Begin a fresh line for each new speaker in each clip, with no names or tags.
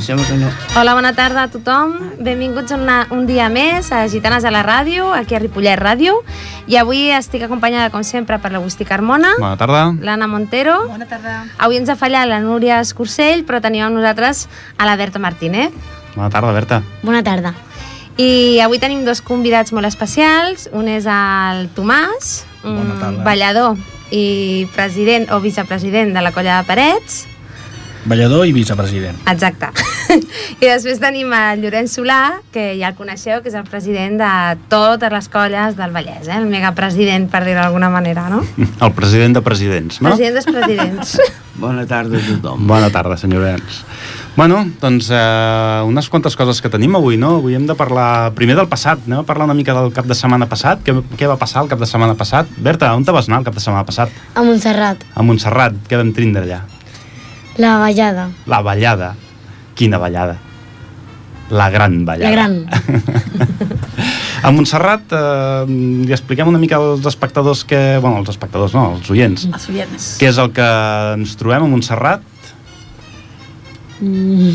sembla que no.
Hola, bona tarda a tothom. Benvinguts una, un dia més a Gitanes a la Ràdio, aquí a Ripollet Ràdio. I avui estic acompanyada, com sempre, per l'Agustí Carmona,
Ah.
Bona tarda.
l'Anna Montero.
Bona tarda.
Avui ens ha fallat la Núria Escursell, però tenim amb nosaltres a la Berta Martínez.
Bona tarda, Berta.
Bona tarda.
I avui tenim dos convidats molt especials. Un és el Tomàs,
Bona
un
tarda.
ballador i president o vicepresident de la Colla de Parets.
Ballador i vicepresident.
Exacte. I després tenim el Llorenç Solà, que ja el coneixeu, que és el president de totes les colles del Vallès, eh? el megapresident, per dir-ho d'alguna manera, no?
El president de presidents, no?
President dels presidents.
Bona tarda a tothom.
Bona tarda, senyor Ens. Bueno, doncs eh, unes quantes coses que tenim avui, no? Avui hem de parlar primer del passat, anem a parlar una mica del cap de setmana passat. Què, què va passar el cap de setmana passat? Berta, on te vas anar el cap de setmana passat?
A Montserrat,
A Montserrat, què vam tindre allà?
la ballada.
La ballada. Quina ballada. La gran ballada.
La gran.
A Montserrat eh, li expliquem una mica als espectadors que... Bueno, als espectadors no, als oients.
Els viernes.
Què és el que ens trobem a Montserrat?
Mm.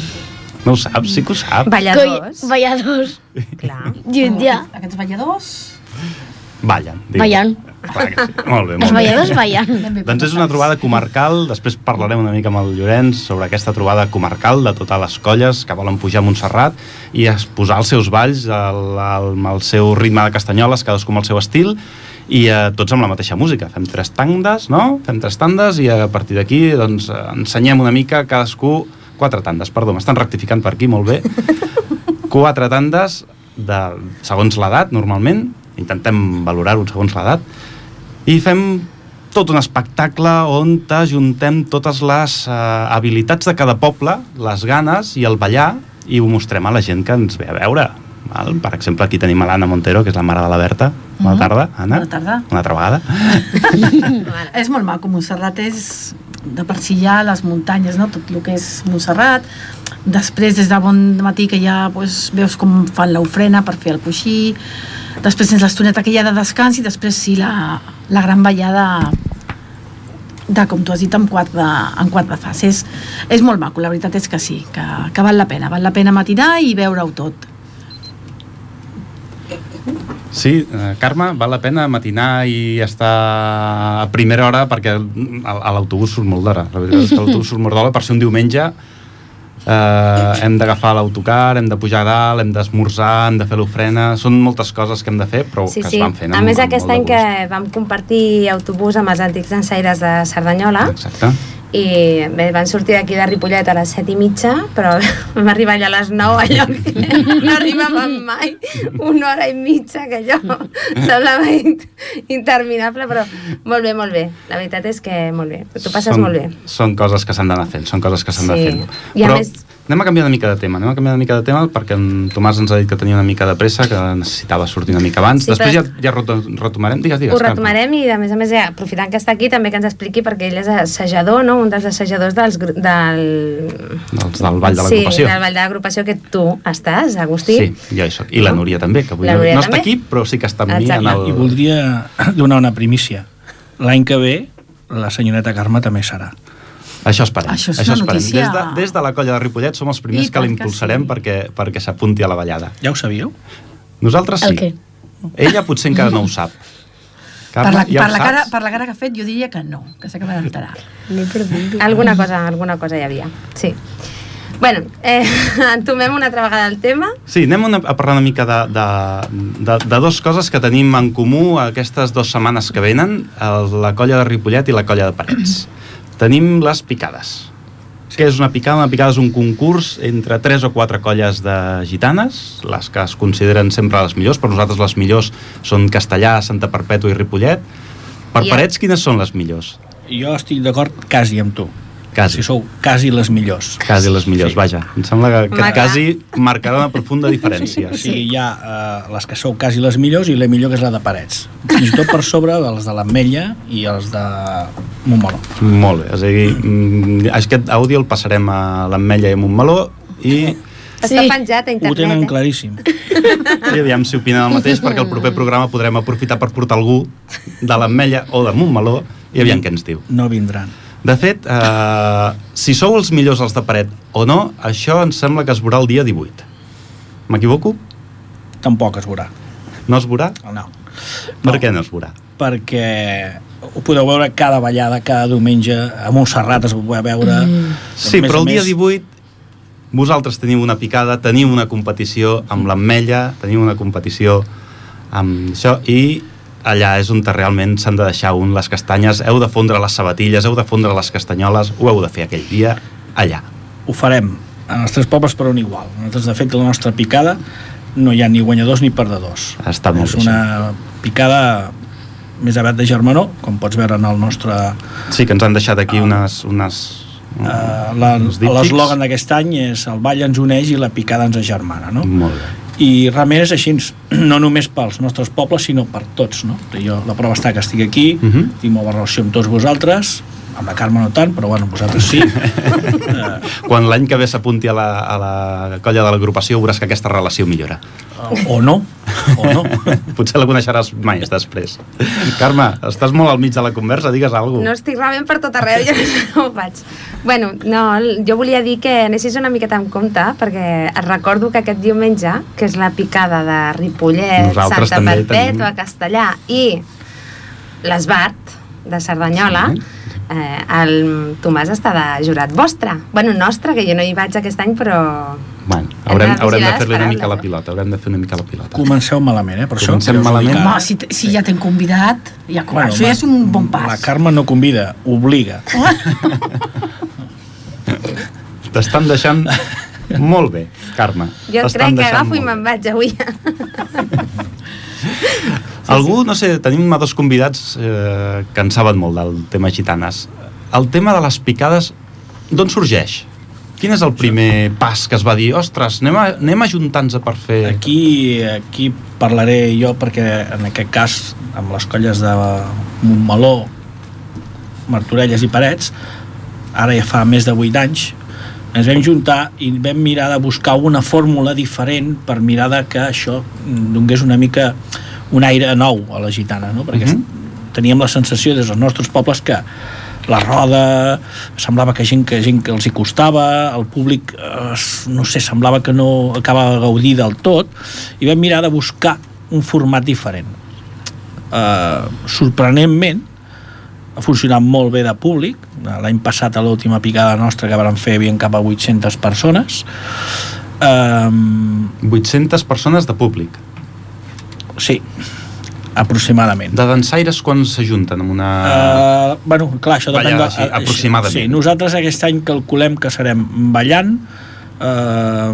No ho saps, sí que ho sap.
Balladors.
Coi- balladors.
Clar.
Jutja.
Aquests balladors...
Ballen. digues.
Ballant.
Clar que sí. Molt bé,
Els
molt bé.
balladors ballant.
ben bé
Doncs és una trobada comarcal, després parlarem una mica amb el Llorenç sobre aquesta trobada comarcal de totes les colles que volen pujar a Montserrat i exposar els seus balls al, al, amb el seu ritme de castanyoles, cadascú amb el seu estil, i eh, tots amb la mateixa música. Fem tres tandes, no? Fem tres tandes i a partir d'aquí doncs, eh, ensenyem una mica cadascú... Quatre tandes, perdó, m'estan rectificant per aquí, molt bé. quatre tandes de, segons l'edat, normalment, intentem valorar-ho segons l'edat, i fem tot un espectacle on t'ajuntem totes les eh, habilitats de cada poble, les ganes i el ballar, i ho mostrem a la gent que ens ve a veure. Val? Per exemple, aquí tenim a l'Anna Montero, que és la mare de la Berta. Bona tarda, Anna.
Mm-hmm. Bona tarda.
Una altra vegada.
És molt maco, Montserrat és de per si hi ha les muntanyes, no? tot el que és Montserrat. Després, des de bon matí, que ja doncs, veus com fan l'ofrena per fer el coixí. Després tens l'estoneta que hi ha de descans i després sí, la, la gran ballada de, com tu has dit, en quatre, en quatre fases. És molt maco, la veritat és que sí, que, que val la pena. Val la pena matinar i veure-ho tot.
Sí, eh, Carme, val la pena matinar i estar a primera hora perquè mm, a a l'autobús surt molt d'hora. La veritat és que l'autobús surt molt d'hora per ser un diumenge eh, hem d'agafar l'autocar, hem de pujar a dalt, hem d'esmorzar, hem de fer l'ofrena... Són moltes coses que hem de fer, però
Sí,
que
sí.
es van fent
A
amb,
més,
amb
aquest any
molt de
que
gust.
vam compartir autobús amb els antics ensaires de Cerdanyola
Exacte.
i bé, van sortir d'aquí de Ripollet a les set i mitja, però vam arribar allà a les 9, allò que no arribàvem mai, una hora i mitja, que allò semblava in- interminable, però molt bé, molt bé. La veritat és que molt bé, t'ho passes
són,
molt bé.
Són coses que s'han d'anar fent, són coses que
Sí.
s'han d'anar fent.
I a
Però
més-
anem a canviar una mica de tema, anem a canviar una mica de tema perquè en Tomàs ens ha dit que tenia una mica de pressa, que necessitava sortir una mica abans.
Sí,
Després
però-
ja, ja reto- retomarem, digues, digues.
Ho
Carme.
retomarem i, a més a més, ja, aprofitant que està aquí, també que ens expliqui, perquè ell és assajador, no? un dels assajadors dels, gru- del...
Dels del Vall de
Sí,
l'Agrupació.
del Vall de l'Agrupació, que tu estàs, Agustí.
Sí, jo hi soc. I la
No?
Núria també, que avui
La
no,
Núria
no està
també.
aquí, però sí que està amb mi.
Exacte.
En el...
I voldria donar una primícia. L'any que ve, la senyoreta Carme també serà.
Això esperem.
Això és una notícia.
Des de, des de la colla de Ripollet som els primers
I
que
tant que
l'impulsarem
sí.
perquè, perquè s'apunti a la ballada.
Ja ho sabíeu?
Nosaltres sí.
El què?
Ella potser encara no ho sap.
Per la,
ho
per, la
saps?
cara, per la cara que ha fet, jo diria que no, que s'acaba d'enterar.
No pregunto.
Alguna cosa, alguna cosa hi havia, sí. Bueno, eh, entomem una altra vegada el tema.
Sí, anem una, a parlar una mica de, de, de, de dues coses que tenim en comú aquestes dues setmanes que venen, el, la colla de Ripollet i la colla de Parets. tenim les picades. Sí. Què és una picada? Una picada és un concurs entre tres o quatre colles de gitanes, les que es consideren sempre les millors, per nosaltres les millors són Castellà, Santa Perpètua i Ripollet. Per
I a-
Parets, quines són les millors?
Jo estic d'acord quasi amb tu.
Quasi.
Si sou quasi les millors.
Quasi les millors,
Sí.
vaja. Em sembla que, que
Marca.
quasi marcarà una profunda diferència.
O sigui, hi ha eh, les que sou quasi les millors i la millor que és la de Parets. Fins i tot per sobre dels de l'Ametlla i els de Montmeló.
Molt bé, és a dir, mm, aquest àudio el passarem a l'Ametlla i a Montmeló i,
Està penjat a
Ho
internet,
tenen
eh?
claríssim.
i aviam si opinen el mateix perquè el proper programa podrem aprofitar per portar algú de l'Ametlla o de Montmeló i aviam què ens diu.
No vindran.
De fet, eh, si sou els millors els de paret o no, això ens sembla que es veurà el dia 18. M'equivoco?
Tampoc es veurà.
No es veurà?
No.
Per què no es veurà?
Perquè ho podeu veure cada ballada, cada diumenge, a Montserrat es va veure... Mm.
Sí, però el dia 18 vosaltres teniu una picada, teniu una competició amb l'ametlla, teniu una competició amb això, i allà és on realment s'han de deixar un les castanyes, heu de fondre les sabatilles, heu de fondre les castanyoles, ho heu de fer aquell dia allà.
ho farem en els tres pobles per un igual. Nosaltres, de fet, la nostra picada no hi ha ni guanyadors ni perdedors.
Està molt
És
bé,
una picada més aviat de germanor, com pots veure en el nostre...
Sí, que ens han deixat aquí unes... unes
Eh, la-
Mm. uns díptics.
L'eslògan d'aquest any és el ball ens uneix i la picada ens agermana, no?
Molt bé.
I realment és així, no només pels nostres pobles, sinó per tots, no? Jo, la prova està que estic aquí, uh
Mhm.
-huh. tinc molt bona relació amb tots vosaltres, amb la Carme no tant, però bueno, amb vosaltres sí. eh,
Quan l'any que ve s'apunti a, la, a la colla de l'agrupació veuràs que aquesta relació millora.
o o no, o no.
Potser la coneixeràs mai després. Carme, estàs molt al mig de la conversa, digues alguna
No estic rebent per tot arreu, jo no sé com ho faig. Bueno, no, l- jo volia dir que anessis una miqueta amb compte, perquè et recordo que aquest diumenge, que és la picada de Ripollet,
Nosaltres
Santa
també
Perpètua,
tenim.
Castellà i l'Esbart de Cerdanyola,
Sí.
eh, el Tomàs està de jurat vostre. Bueno, nostre, que jo no hi vaig aquest any, però...
Bueno, haurem,
Hem de
haurem de
vigilar
fer-li una
esperar-la,
mica la
no?
pilota, haurem de fer una mica la pilota.
Comenceu malament, eh, per això.
Comencem
Ja us ho
malament.
dic ara.
Home, si, t- si ja t'hem convidat, ja, bueno, això
ma-
ja és un bon pas.
La Carme no convida, obliga.
T'estan deixant molt bé, Carme.
Jo
T'estan
crec que
deixant
agafo i
molt
me'n
bé.
vaig avui.
Algú, no sé, tenim a dos convidats eh, que en saben molt del tema gitanes. El tema de les picades, d'on sorgeix? Quin és el primer pas que es va dir? Ostres, anem, a, anem ajuntant-nos per fer...
Aquí, aquí parlaré jo perquè en aquest cas amb les colles de Montmeló, Martorelles i Parets, ara ja fa més de 8 anys, ens vam juntar i vam mirar de buscar una fórmula diferent per mirar de que això donés una mica un aire nou a la gitana, no? perquè
Mhm.
teníem la sensació des dels nostres pobles que la roda, semblava que gent que, gent que els hi costava, el públic, eh, es- no sé, semblava que no acabava de gaudir del tot, i vam mirar de buscar un format diferent. Eh, sorprenentment, ha funcionat molt bé de públic. L'any passat, a l'última picada nostra que vàrem fer, hi havia cap a 800 persones. Um,
800 persones de públic.
sí, aproximadament.
De dansaires quan s'ajunten amb una...
Uh, bueno, clar, això depèn
Ballada,
de...
sí, aproximadament.
Sí, nosaltres aquest any calculem que serem ballant uh,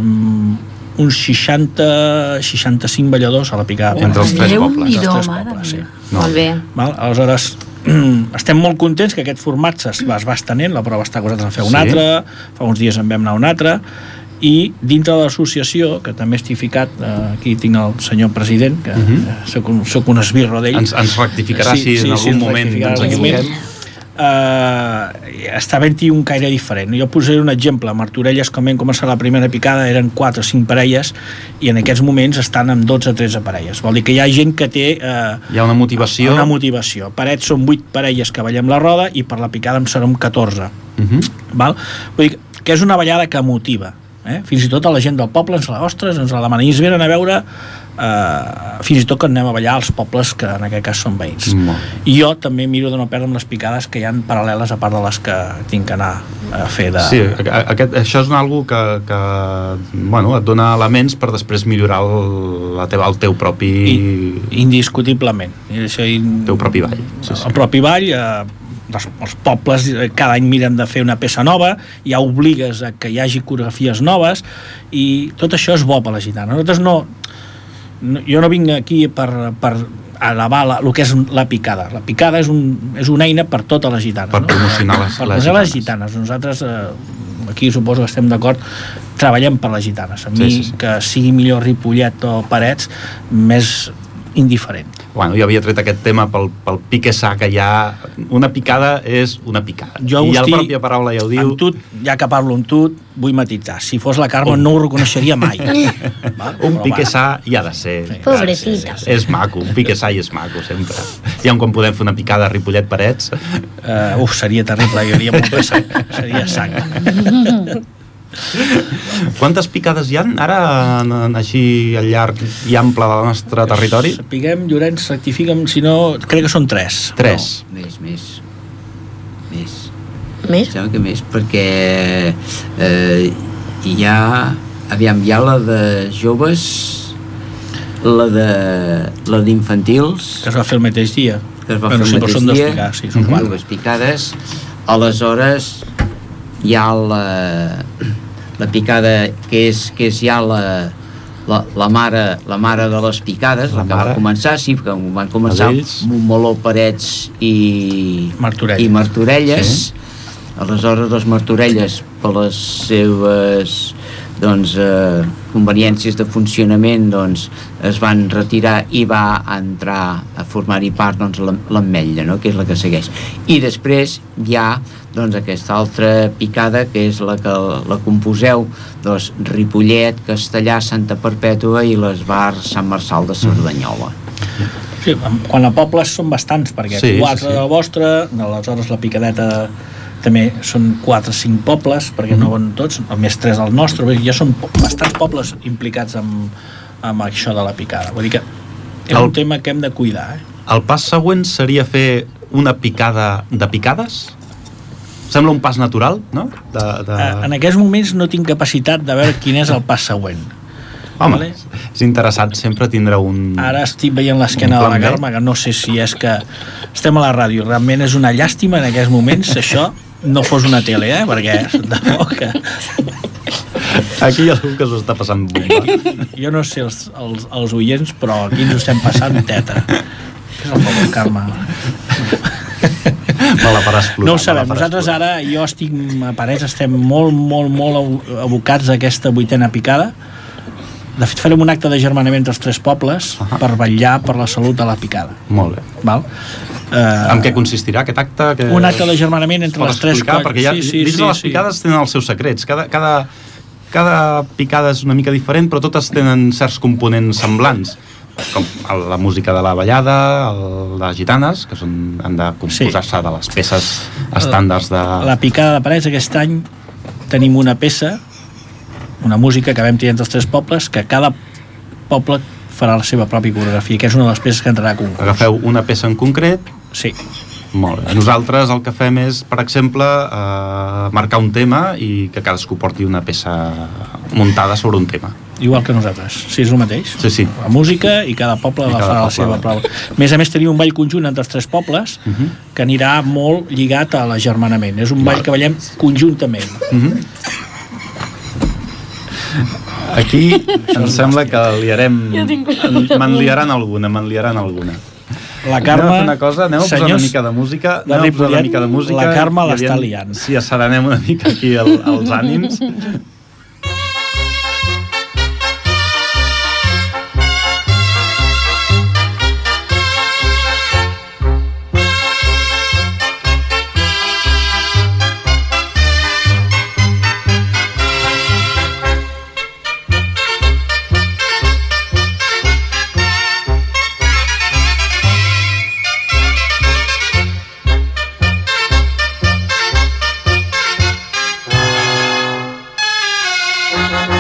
uns 60-65 balladors a la picada.
Entre els tres
Déu-n'hi-do,
pobles,
els tres
mare
pobles,
meva.
sí.
No.
Molt bé.
Val? Aleshores, estem molt contents que aquest format es, es va estenent, la prova està acusada a fer
Sí.
un sí. altre, fa uns dies en vam anar a un altre, i dintre de l'associació, que també estic ficat, eh, aquí tinc el senyor president, que uh
Mhm.
-huh. soc, un, soc un esbirro d'ell.
Ens, ens rectificarà
Sí,
sí, si
sí,
en algun
sí, ens
moment
rectificarà
ens
en algun moment.
equivoquem.
eh, està havent-hi un caire diferent. Jo posaré un exemple. A Martorelles, quan vam començar la primera picada, eren 4 o 5 parelles i en aquests moments estan amb 12 o 13 parelles. Vol dir que hi ha gent que té... Eh,
Hi ha una motivació...
una motivació. Parets són 8 parelles que ballem la roda i per la picada en serem 14.
Mhm.
Val? Vull dir que és una ballada que motiva. Eh? Fins i tot a la gent del poble ens la, ostres, ens la demanís, venen a veure eh, fins i tot que anem a ballar als pobles que en aquest cas són veïns.
Molt bé.
I jo també miro de no perdre amb les picades que hi han paral·leles a part de les que tinc que anar a fer de...
Sí, a- a- aquest, això és una algo que, que bueno, et dona elements per després millorar el, la teva, el teu propi...
I, indiscutiblement. I això, i,
Teu propi ball, sí, sí.
El propi ball, eh, els, els pobles eh, cada any miren de fer una peça nova, ja obligues a que hi hagi coreografies noves, i tot això és bo per la gitana. Nosaltres no... no jo no vinc aquí per, per elevar la, el que és la picada. La picada és, un, és una eina per tota la gitana.
Per
no?
promocionar les-
per
les
promocionar les
gitanes.
gitanes. Nosaltres, eh, aquí suposo que estem d'acord, treballem per les gitanes. A
Sí,
mi,
sí, sí.
que sigui millor Ripollet o Parets, més indiferent.
Bueno, jo havia tret aquest tema pel, pel pique sa que hi ha. Una picada és una picada.
Jo,
I ja
Agustí,
la pròpia paraula ja ho diu.
Amb tu, ja que parlo amb tu, vull matitzar. Si fos la Carme no ho reconeixeria mai. Va?
Un
Però
pique
va.
sa hi ha de ser.
Sí.
Pobrecita.
És maco, un pique sa i és maco, sempre. I on quan podem fer una picada a Ripollet-Parets,
Uh, uf, seria terrible, hi hauria molt de sang. Seria sang.
Quantes picades hi han ara en, en, així al llarg i ample del nostre territori?
Sapiguem, Llorenç, rectifica'm, si no... Crec que són tres.
Tres.
Més, més. Més.
Més?
Sembla que més, perquè eh, hi ha... Aviam, hi ha la de joves, la de la d'infantils,
Que es va fer el mateix dia.
que es va
Bueno,
fer
sí,
el
però
mateix
són
dia.
d'explicar, sí, són
Mhm.
quatre.
Dues picades. Aleshores, hi ha la, la picada que és, que és ja la, la, la, mare, la mare de les picades, la,
La
que
mare.
va començar, sí, que van començar
Vedells.
amb Moló, Parets i,
Martorell.
i Martorelles.
Sí.
Aleshores, les Martorelles, per les seves doncs, eh, conveniències de funcionament, doncs, es van retirar i va entrar a formar-hi part doncs, l'Am- l'Ametlla, no? que és la que segueix. I després hi ha doncs, aquesta altra picada, que és la que la composeu, doncs, Ripollet, Castellà, Santa Perpètua i les bars Sant Marçal
Mm.
de Cerdanyola.
Sí, en- quan a pobles són bastants, perquè
Sí,
sí,
sí,
quatre
sí.
sí. del vostre, aleshores la picadeta també són 4 o 5 pobles, perquè
Mhm.
mm. no van tots, el més 3 del nostre, vull dir, ja són po- bastants pobles implicats amb, amb això de la picada. Vull dir que és
El-
el... un tema que hem de cuidar, eh?
El pas següent seria fer una picada de picades? Sembla un pas natural, no? De, de...
Uh... En aquests moments no tinc capacitat de veure quin és el pas següent.
Home,
vale.
és interessant sempre tindre un...
Ara estic veient l'esquena de la
Plan B.
Carme, que no sé si és que estem a la ràdio. Realment és una llàstima en aquests moments això no fos una tele, eh? Perquè de bo que...
Aquí hi ha algú que s'ho està passant bomba.
Jo no sé els, els, els oients, però aquí ens ho estem passant teta. Fes el favor, Carme.
Me la faràs plorar.
No
me
ho
la
sabem.
faràs
Nosaltres
plorar.
ara, jo estic, a Parets, estem molt, molt, molt abo- abocats a aquesta vuitena picada. De fet, farem un acte de germanament dels tres pobles per vetllar per la salut de la picada.
Molt bé.
Val?
Ah. En què
Eh,
consistirà aquest acte? Que
un acte de germanament entre
Pots
les tres
explicar,
colles.
perquè ja,
Sí, sí,
dins
sí,
de les
sí.
picades tenen els seus secrets. Cada, cada, cada picada és una mica diferent, però totes tenen certs components semblants com el- la música de la ballada, el, les gitanes, que són, han de composar-se de les peces estàndards de...
la picada de Parets aquest any tenim una peça una música que vam tenir entre els tres pobles que cada poble farà la seva pròpia coreografia, que és una de les peces que entrarà a concurs.
Agafeu una peça en concret,
Sí.
molt bé. Nosaltres el que fem és, per exemple, eh, marcar un tema i que cadascú porti una peça muntada sobre un tema.
Igual que nosaltres, sí, és el mateix.
Sí, sí.
La música i cada poble
I cada
agafarà la
poble.
seva prova. A més a més, tenim un ball conjunt entre els tres pobles uh
Mhm.
-huh. que anirà molt lligat a l'agermanament. És un ball que ballem conjuntament.
Mm. Aquí em sembla que liarem... M'enliaran alguna, m'enliaran alguna. Anem
La
a
Carme...
fer una cosa, anem a posar una mica de música.
de
Anem a posar una
Ripollet,
mica de música.
la Carme
i
l'està
aviam
liant.
Si asserenem una mica aquí el, els ànims.
Thank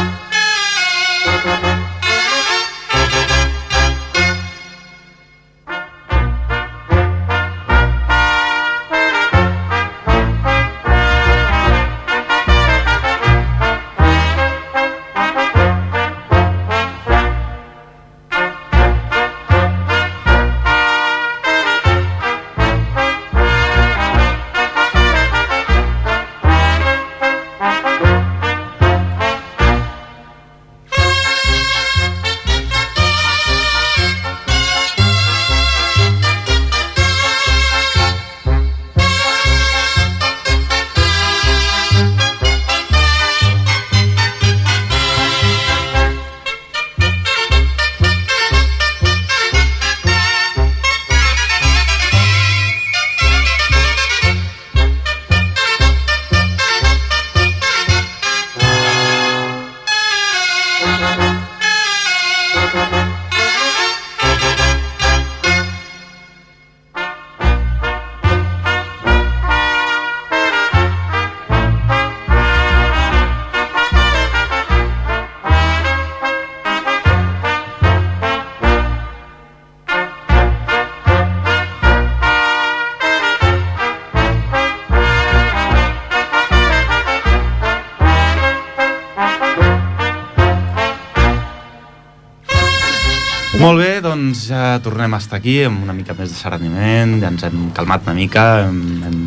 Molt bé, doncs ja tornem a estar aquí amb una mica més de sereniment, ja ens hem calmat una mica, hem, hem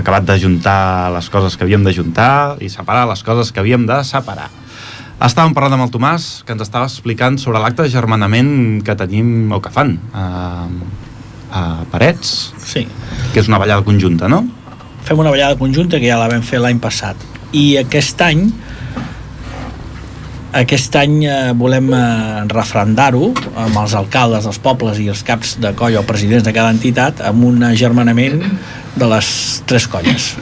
acabat d'ajuntar les coses que havíem d'ajuntar i separar les coses que havíem de separar. Estàvem parlant amb el Tomàs, que ens estava explicant sobre l'acte de germanament que tenim o que fan a, a Parets,
Sí.
que és una ballada conjunta, no?
Fem una ballada conjunta que ja la vam fer l'any passat. I aquest any aquest any eh, volem eh, refrendar-ho amb els alcaldes dels pobles i els caps de colla o presidents de cada entitat amb un agermanament de les tres colles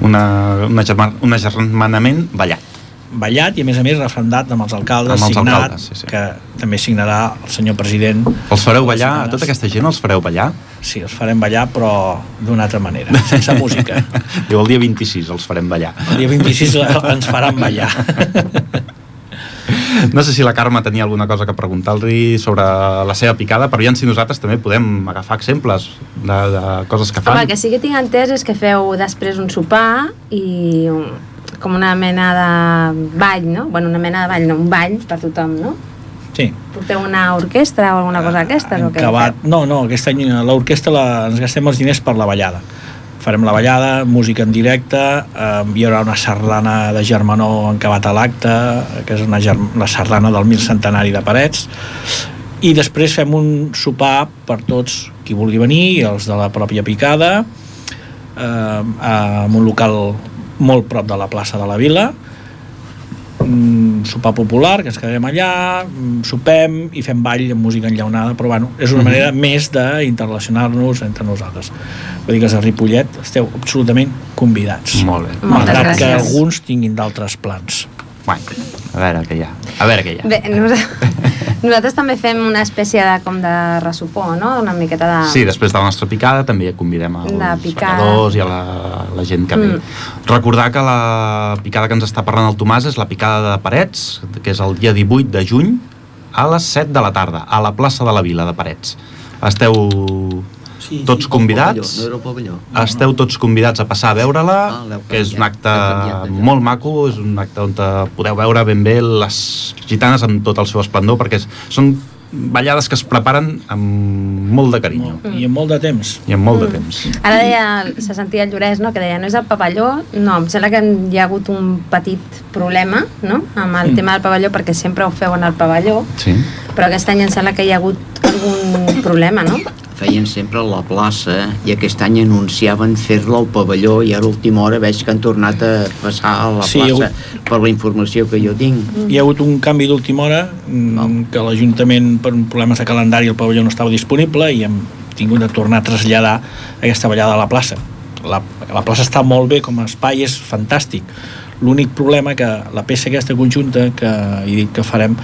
Una, una german, un agermanament ballat.
ballat i a més a més refrendat amb els alcaldes
Amb els
signat,
alcaldes, sí, sí.
que també signarà el senyor president
Els fareu ballar, a tota aquesta gent els fareu ballar?
sí, els farem ballar però d'una altra manera, sense música
Diu, el dia 26 els farem ballar.
el dia 26 ens faran ballar
No sé si la Carme tenia alguna cosa que preguntar-li sobre la seva picada, però ja si nosaltres també podem agafar exemples de, de coses que fan.
Home, el que sí que tinc entès és que feu després un sopar i un, com una mena de ball, no? Bueno, una mena de ball, no, un ball per tothom, no?
sí
Porteu una orquestra o
Ah,
alguna cosa d'aquestes? o
Hem
què
acabat... No, no, aquest any eh, l'orquestra la... ens gastem els diners per la ballada. Farem la ballada, música en directe, eh, hi haurà una sardana de Germanó acabat a l'acte, eh, que és una germ... la sardana del mil centenari de Parets, i després fem un sopar per tots qui vulgui venir, i els de la pròpia picada, eh, en un local molt prop de la plaça de la Vila, mm, sopar popular, que ens quedarem allà, mm, sopem i fem ball amb música enllaunada, però bueno, és
Mhm.
una manera més d'interrelacionar-nos entre nosaltres. Vull dir que els de Ripollet esteu absolutament convidats.
Molt bé.
Moltes
Malgrat que
gràcies.
alguns tinguin d'altres plans.
Bueno, a veure què hi ha. A veure què hi ha.
Mm. Bé, nosaltres, nosaltres també fem una espècie de, com de ressupor, no? Una miqueta de...
Sí, després de la nostra picada també convidem als
ah. La picada.
balladors i a la, la gent que ve.
Mm.
Recordar que la picada que ens està parlant el Tomàs és la picada de Parets, que és el dia 18 de juny a les 7 de la tarda, a la plaça de la Vila de Parets. Esteu
Sí,
tots
sí,
convidats?
No era el pavelló.
Esteu tots convidats a passar a veure-la,
Ah, l'heu
que és un
canviat,
acte
l'heu canviat de lloc.
molt maco, és un acte on eh, podeu veure ben bé les gitanes amb tot el seu esplendor, perquè és- són ballades que es preparen amb molt de carinyo
I en molt de temps.
i amb molt de temps.
Ara deia, se sentia el Llorès, no? que deia, no és el pavelló, no, em sembla que hi ha hagut un petit problema no? amb el
Mm.
tema del pavelló, perquè sempre ho feuen al pavelló,
Sí.
però aquest any em sembla que hi ha hagut algun problema, no?
Feien sempre a la plaça i aquest any anunciaven fer-la al pavelló i ara a última hora veig que han tornat a passar a la
Sí,
sí, plaça per la informació que jo tinc.
Hi ha hagut un canvi d'última hora, mm, que l'Ajuntament per problemes de calendari el pavelló no estava disponible i hem tingut de tornar a traslladar aquesta ballada a la plaça. La, la plaça està molt bé com a espai, és fantàstic. L'únic problema que la peça aquesta conjunta que he dit que farem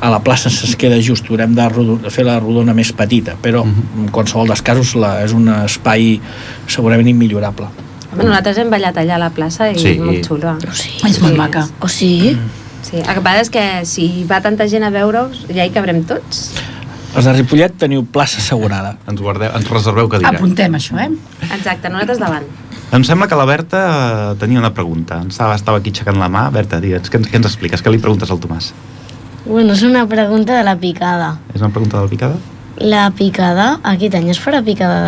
a la plaça se'ns queda just, haurem de, rodo- de fer la rodona més petita, però en qualsevol dels casos la, és un espai segurament immillorable.
Home, nosaltres hem ballat allà a la plaça i
Sí.
sí. molt xulo.
Sí.
És molt maca.
O sí?
Sí, el que passa és que si va tanta gent a veure-us, ja hi cabrem tots.
Els de Ripollet teniu plaça assegurada.
Ens, guardeu, ens reserveu cadira.
Apuntem això, eh?
Exacte, nosaltres davant.
Em sembla que la Berta eh, tenia una pregunta. Ens Estava, estava aquí aixecant la mà. Berta, digues, què, ens- què ens expliques? Què li preguntes al Tomàs?
Bueno, és una pregunta de la picada.
És una pregunta de la picada?
La picada, aquest any es farà picada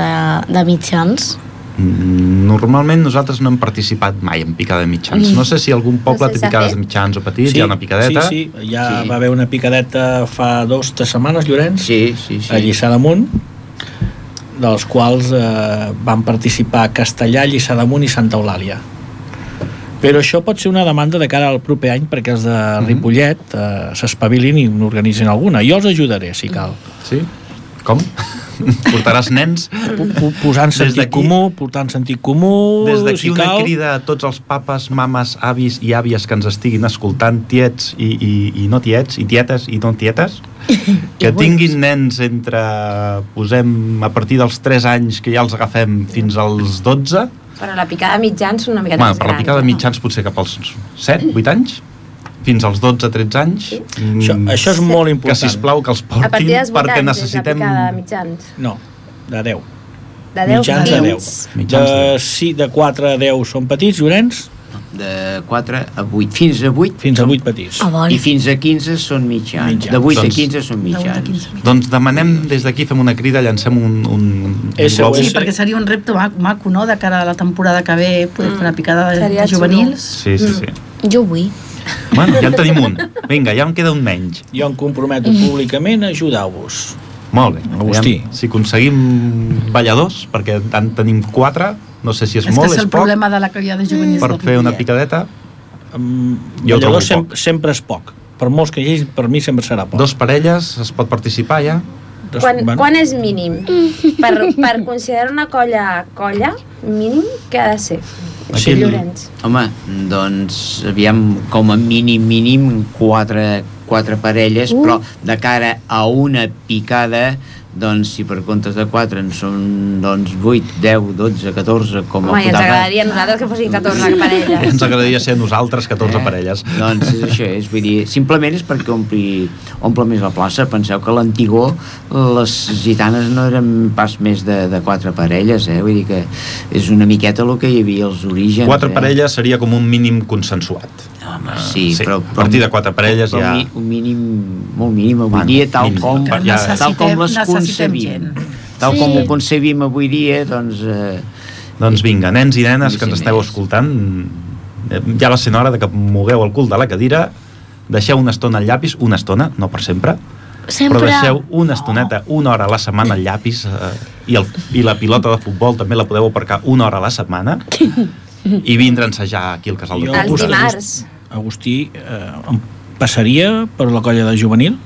de, de mitjans?
Mm, Normalment nosaltres no hem participat mai en picada de mitjans. No sé si algun
Mm. No
poble
sé
té
si s'ha
picades
fet.
de mitjans o petits, hi ha una picadeta.
Sí, sí, ja
Sí.
sí. va haver una picadeta fa dos tres setmanes, Llorenç,
Sí, sí, sí.
a Lliçà d'Amunt, dels quals eh, van participar Castellà, Lliçà d'Amunt i Santa Eulàlia. Però això pot ser una demanda de cara al proper any perquè els de
Mhm.
Ripollet eh, s'espavilin i n'organitzin alguna. Jo els ajudaré, si cal.
Sí? Com? Portaràs nens?
Po- po- Posant
Des
sentit
d'aquí-
comú, portant sentit comú,
Des d'aquí
si
una
cal.
crida a tots els papes, mames, avis i àvies que ens estiguin escoltant, tiets i, i, i no tiets, i tietes i no tietes, que tinguin nens entre, posem, a partir dels 3 anys que ja els agafem fins als 12,
Però la picada mitjans una miqueta
Home,
més
per la
gran.
picada de
no?
mitjans potser cap als 7, 8 anys, fins als 12, 13 anys. Mm,
Això, això és molt
que,
important.
sisplau, que els
A partir dels 8
portin perquè
anys és
necessitem...
la picada de mitjans.
No, de 10.
De 10
mitjans de
fins-
10.
Mitjans de
De, sí, de 4 a 10 són petits, Llorenç,
de 4 a 8, fins a 8
Fins a 8 petits.
A vol.
i fins a 15 són mitjans.
Mitjans.
De 8
Doncs-
a 15 són
de 8 a
mitjans.
15 minuts.
Doncs demanem, des d'aquí fem una crida, llancem un, un, un
SOS.
Sí,
Sí.
perquè seria un repte maco, maco, no?, de cara a la temporada que ve poder fer una picada de,
Mm. Seria
de
xulo.
juvenils.
Sí, sí, sí.
Jo vull.
Bueno, ja en tenim un. Vinga, ja en queda un menys.
Jo em comprometo
Mm.
públicament a ajudar-vos.
Molt bé.
Agustí.
Aviam Si aconseguim balladors, perquè en tenim quatre, no sé si és,
És, que
molt,
és
és,
el
poc,
problema de la colla
Mm.
de juvenils.
per
de
fer una
Ripollet.
picadeta,
Um,
Jo ho trobo
ballador sem
poc.
sempre és poc. Per molts que hi hagi, per mi sempre serà poc.
dos parelles, es pot participar ja.
Dos-
Quan,
bueno,
quan és mínim? Per, per considerar una colla colla, mínim, què ha de ser? Aquí
Aquí el-
Llorenç.
Home, doncs aviam, com a mínim, mínim, quatre, quatre parelles, uh. però de cara a una picada, doncs si per comptes de 4 en són doncs, 8, 10, 12, 14, com
Home, i ens
apuntava-
agradaria a nosaltres que fossin 14 parelles.
Ens agradaria ser nosaltres 14 parelles.
Doncs és això, és, vull dir, simplement és perquè ompli, omple més la plaça. Penseu que a l'Antigó les gitanes no eren pas més de, de quatre parelles, eh? Vull dir que és una miqueta el que hi havia als orígens.
Quatre
eh?
parelles seria com un mínim consensuat.
Home, sí,
Ah, Sí,
però,
a partir de quatre parelles
però
ja-
mi- Un mínim, molt mínim avui
Bueno,
dia, tal
mínim,
com,
per-
ja,
ja-
tal com les
Necessitem- necessitem
concebim.
gent.
Tal com
Sí.
ho concebim avui dia, doncs... Eh,
Doncs vinga, nens i nenes que
Sí,
ens
sí,
esteu
més.
escoltant, eh, ja va sent hora de que mogueu el cul de la cadira, deixeu una estona al llapis, una estona, no per sempre, Oh.
Sempre...
però deixeu una estoneta, una hora a la setmana al llapis eh, i, el, i la pilota de futbol també la podeu aparcar una hora a la setmana i vindre a ensejar aquí al Casal de
Jo
Els
Augusta,
Cultura.
dimarts.
Agustí, eh, em passaria per la colla de juvenil?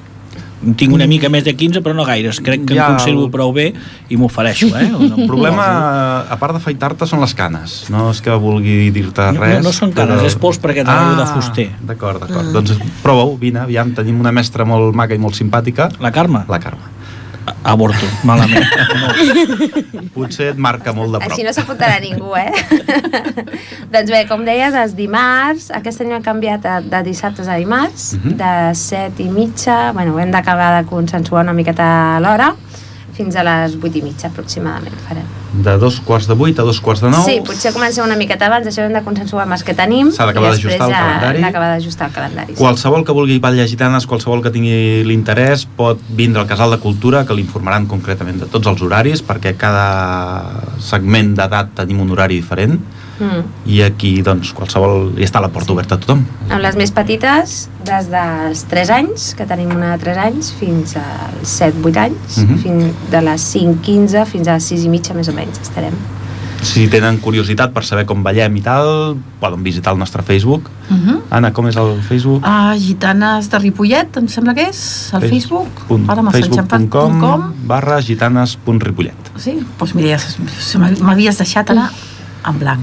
En Tinc una mica més de 15, però no gaires. Crec que
Ja,
ja, em conservo
el-
prou bé i m'ofereixo, eh?
El problema, eh, a part d'afaitar-te, són les canes. No és que vulgui dir-te
No,
res. Ah,
no són canes, és pols perquè treballo de fuster.
D'acord,
Ah.
d'acord. Doncs prova-ho, vine, aviam, tenim una mestra molt maca i molt simpàtica,
La Carme? La...
la Carme.
Aborto, malament. No.
Potser et marca molt de prop.
Així no s'apuntarà ningú, eh? doncs bé, com deies, els dimarts, aquest any ho hem canviat de, de dissabtes a dimarts,
Mhm.
de set i mitja, bueno, hem d'acabar de consensuar una miqueta l'hora, fins a les vuit i mitja aproximadament farem.
De dos quarts de vuit a dos quarts de nou.
Sí, potser comencem una miqueta abans, això hem de consensuar amb els que tenim.
S'ha d'acabar
i després
d'ajustar el
ja
calendari.
hem d'acabar d'ajustar el calendari. sí.
Qualsevol que vulgui ballar gitanes, qualsevol que tingui l'interès, pot vindre al Casal de Cultura, que l'informaran concretament de tots els horaris, perquè cada segment d'edat tenim un horari diferent,
Mm.
i aquí, doncs, qualsevol... hi està la porta oberta a tothom.
Amb les més petites, des dels 3 anys, que tenim una de 3 anys, fins als 7-8 anys,
Mhm.
fins de les 5-15 fins a les 6 i mitja, més o menys, estarem.
Si tenen curiositat per saber com ballem i tal, poden visitar el nostre Facebook.
Mhm.
Anna, com és el Facebook?
Ah, gitanes de Ripollet, em sembla que és, al
Fes-
Ah, Facebook.
punt-
Ara m'has enxampat. punt
Facebook.com
com.
barra gitanes.ripollet.
Sí, doncs mira, ja s- se m'ha- m'havies deixat ara en blanc.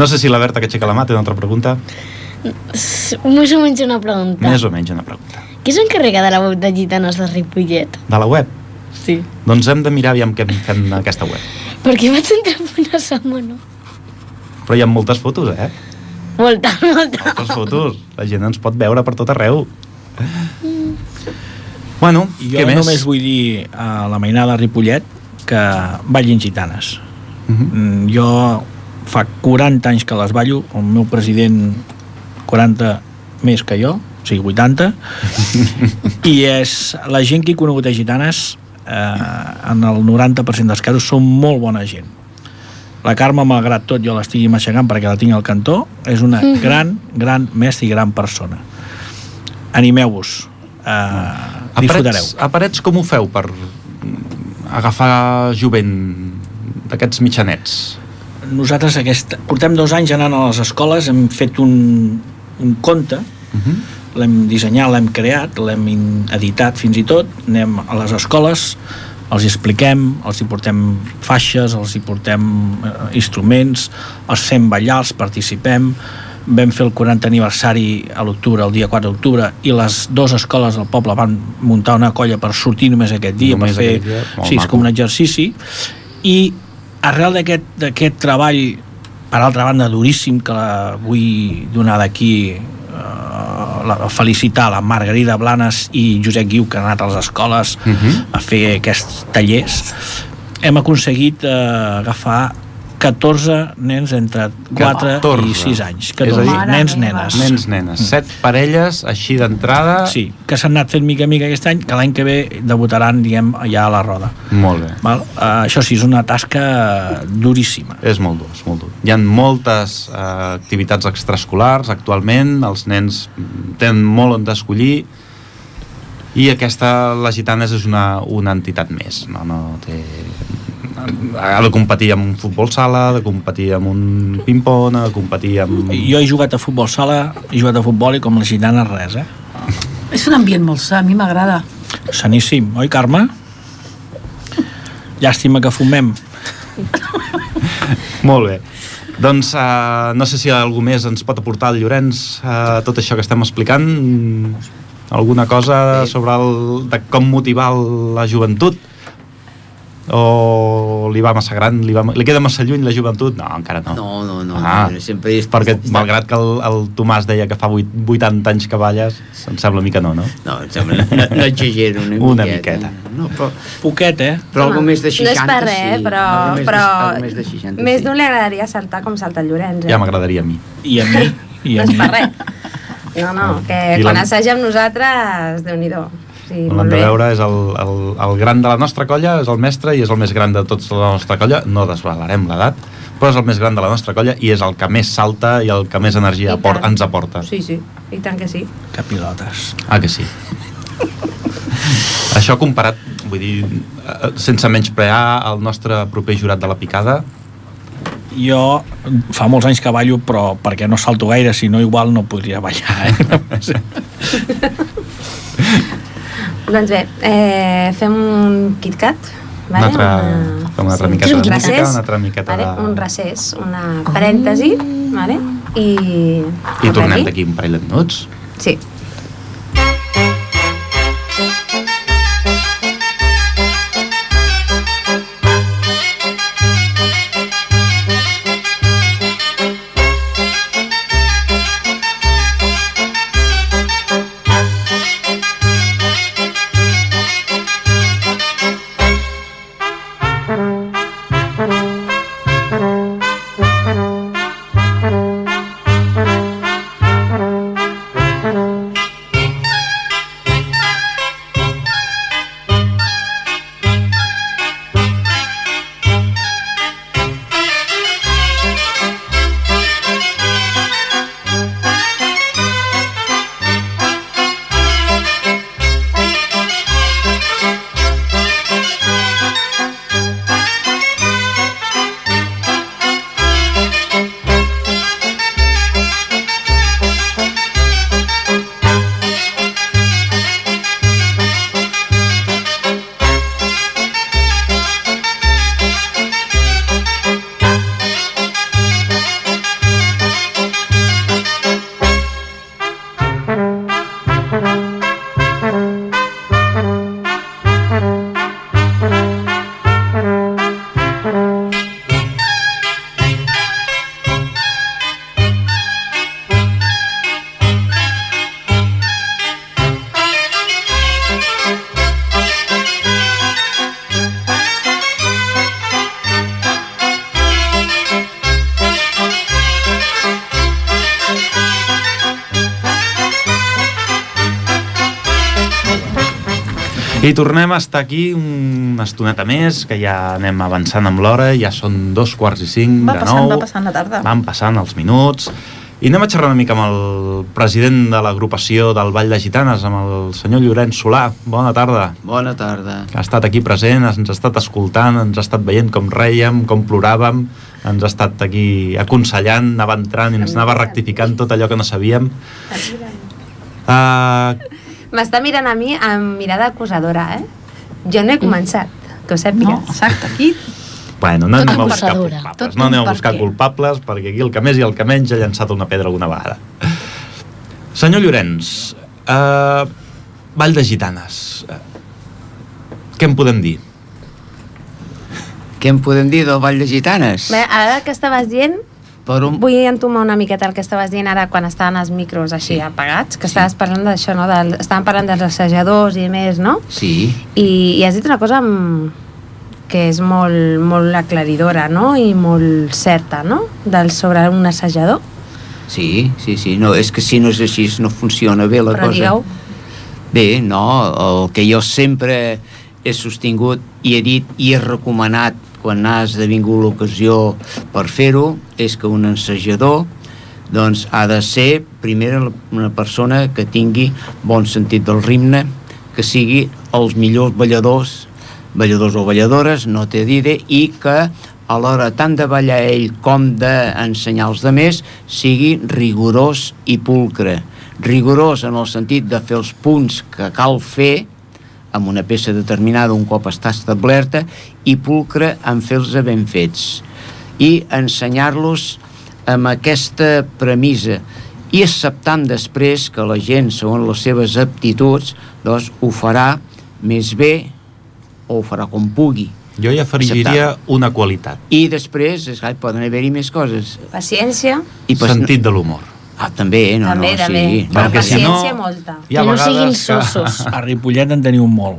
No sé si la Berta que aixeca la mà té una altra pregunta.
S- Més o menys una pregunta.
Més o menys una pregunta.
Qui s'encarrega de la web de gitanes de Ripollet?
De la web?
Sí.
Doncs hem de mirar aviam què fem en aquesta web.
Perquè vaig entrar fa una setmana.
Però hi ha moltes fotos, eh?
Molta, molta.
Moltes fotos. La gent ens pot veure per tot arreu. Bueno,
Mm. Jo
què més?
només vull dir a la mainada Ripollet que ballin gitanes.
Mhm.
Mm, jo fa 40 anys que les ballo, el meu president 40 més que jo, o sigui 80, i és la gent que he conegut a gitanes, eh, en el 90% dels casos, són molt bona gent. La Carme, malgrat tot, jo l'estigui aixecant perquè la tinc al cantó, és una gran, gran mestra i gran persona. Animeu-vos, eh,
A
disfrutareu.
parets, a parets com ho feu per agafar jovent d'aquests mitjanets?
Nosaltres aquest, portem dos anys anant a les escoles, hem fet un, un conte,
Uh -huh.
l'hem dissenyat, l'hem creat, l'hem in- editat fins i tot, anem a les escoles, els hi expliquem, els hi portem faixes, els hi portem eh, instruments, els fem ballar, els participem, vam fer el 40 aniversari a l'octubre, el dia 4 d'octubre, i les dues escoles del poble van muntar una colla per sortir només aquest dia,
Només
per fer...
aquell dia, molt
sí, és
maco.
com un exercici. I arrel d'aquest d'aquest treball, per altra banda, duríssim, que la vull donar d'aquí eh, la, felicitar la Margarida Blanes i Josep Guiu, que han anat a les escoles
Mhm.
a fer aquests tallers, hem aconseguit eh, agafar 14 nens entre 4
14.
i 6 anys.
És a
14,
dir,
dir, nens,
Mare
nenes.
Nens, nenes. Set parelles, així d'entrada.
Mm. Sí, que s'han anat fent mica a mica aquest any, que l'any que ve debutaran, diguem, allà a la roda.
Molt bé.
Val? Uh, això sí, és una tasca duríssima.
És molt dur, és molt dur. Hi ha moltes eh, activitats extraescolars actualment, els nens mm, tenen molt on d'escollir i aquesta, la Gitanes, és una, una entitat més. No, no té... Ha de competir amb un futbol sala, ha de competir amb un ping-pong, ha de competir amb...
Jo he jugat a futbol sala, he jugat a futbol i com la gitana res, eh?
És un ambient molt sa, a mi m'agrada.
Saníssim, oi, Carme? Llàstima que fumem.
Molt bé. Doncs uh, no sé si algú més ens pot aportar el Llorenç uh, tot això que estem explicant. Mm, Alguna cosa sobre el, de com motivar la joventut? O li va massa gran? Li, va, li queda massa lluny la joventut? No, encara no.
No, no, no,
Ah,
no, sempre és-
Perquè
està-
malgrat que el, el Tomàs deia que fa 8, 80 anys que balles, em sembla mica no, no?
No, em sembla, no, no exagero una,
Una miqueta.
No, però,
Poquet, eh?
però
Home,
algo més de 60,
No és per res,
sí.
però,
Algo més de-
però
algo més de 60,
més
sí.
d'un li agradaria saltar com salta el Llorenç. Eh?
Ja m'agradaria a mi.
I a mi, i a
no és
mi.
per res. No, no,
Ah.
que
I
quan
l'han-
assaja amb nosaltres, Déu-n'hi-do. Sí,
L'hem
molt
de
bé.
veure, és el, el, el gran de la nostra colla, és el mestre i és el més gran de tots de la nostra colla. No desvelarem l'edat, però és el més gran de la nostra colla i és el que més salta i el que més energia
I
apor
tant.
ens aporta.
Sí, sí, i tant que sí.
Que pilotes.
Ah, que sí. Això comparat, vull dir, eh, sense menysprear el nostre proper jurat de la picada,
Jo fa molts anys que ballo, però perquè no salto gaire, si no igual no podria ballar, eh?
Doncs bé, eh, fem un KitKat.
una
Vale?
altra, fem una altra miqueta
un
de música,
recés,
una altra miqueta
vale?
de...
Un recés, una parèntesi, vale? i...
I tornem d'aquí un parell de minuts.
Sí.
I tornem a estar aquí una estoneta més, que ja anem avançant amb l'hora, ja són dos quarts i cinc Mm,
Va
de
passant,
nou.
va passant la tarda.
Van passant els minuts. I anem a xerrar una mica amb el president de l'agrupació del Vall de Gitanes, amb el senyor Llorenç Solà. Bona tarda.
Bona tarda.
Ha estat aquí present, ens ha estat escoltant, ens ha estat veient com reiem, com ploràvem, ens ha estat aquí aconsellant, anava entrant i ens anava rectificant tot allò que no sabíem. Uh,
M'està mirant a mi amb mirada acusadora, eh? Jo no he començat, que ho
No,
sàpigues.
exacte, aquí
Bueno, no
Tot
anem a buscar
acusadora.
culpables.
Tot
No anem a
un
buscar
perquè.
culpables perquè aquí el que més i el que menys ha llançat una pedra alguna vegada. Senyor Llorenç, uh, Vall de Gitanes, eh, què en podem dir?
Què en podem dir del Vall de Gitanes?
Bé, ara que estaves dient,
Per un...
vull entomar una miqueta el que estaves dient ara quan estaven els micros així
Sí.
apagats, que estaves parlant d'això, no? Del, estaven parlant dels assajadors i més, no?
Sí,
I, i has dit una cosa amb... que és molt, molt aclaridora no? i molt certa no? del sobre un assajador.
Sí, sí, sí. No, és que si no és així no funciona bé la
Però
cosa.
digueu,
Bé, no, el que jo sempre he sostingut i he dit i he recomanat quan ha esdevingut l'ocasió per fer-ho és que un ensejador doncs ha de ser primer una persona que tingui bon sentit del ritme, que sigui els millors balladors, balladors o balladores, no té d'idea, i que a l'hora tant de ballar ell com d'ensenyar als demés sigui rigorós i pulcre. Rigorós en el sentit de fer els punts que cal fer amb una peça determinada un cop està establerta i pulcre en fer-los ben fets i ensenyar-los amb aquesta premissa i acceptant després que la gent, segons les seves aptituds, doncs ho farà més bé o ho farà com pugui.
Jo ja afegiria una qualitat.
I després, esclar, poden haver-hi més coses.
paciència,
I pas-
sentit de l'humor.
Ah, també, no,
també,
no,
també.
sí.
La
Perquè si no-
paciència molta.
Hi ha
que no
vegades
siguin
que-
sossos.
A Ripollet en teniu molt.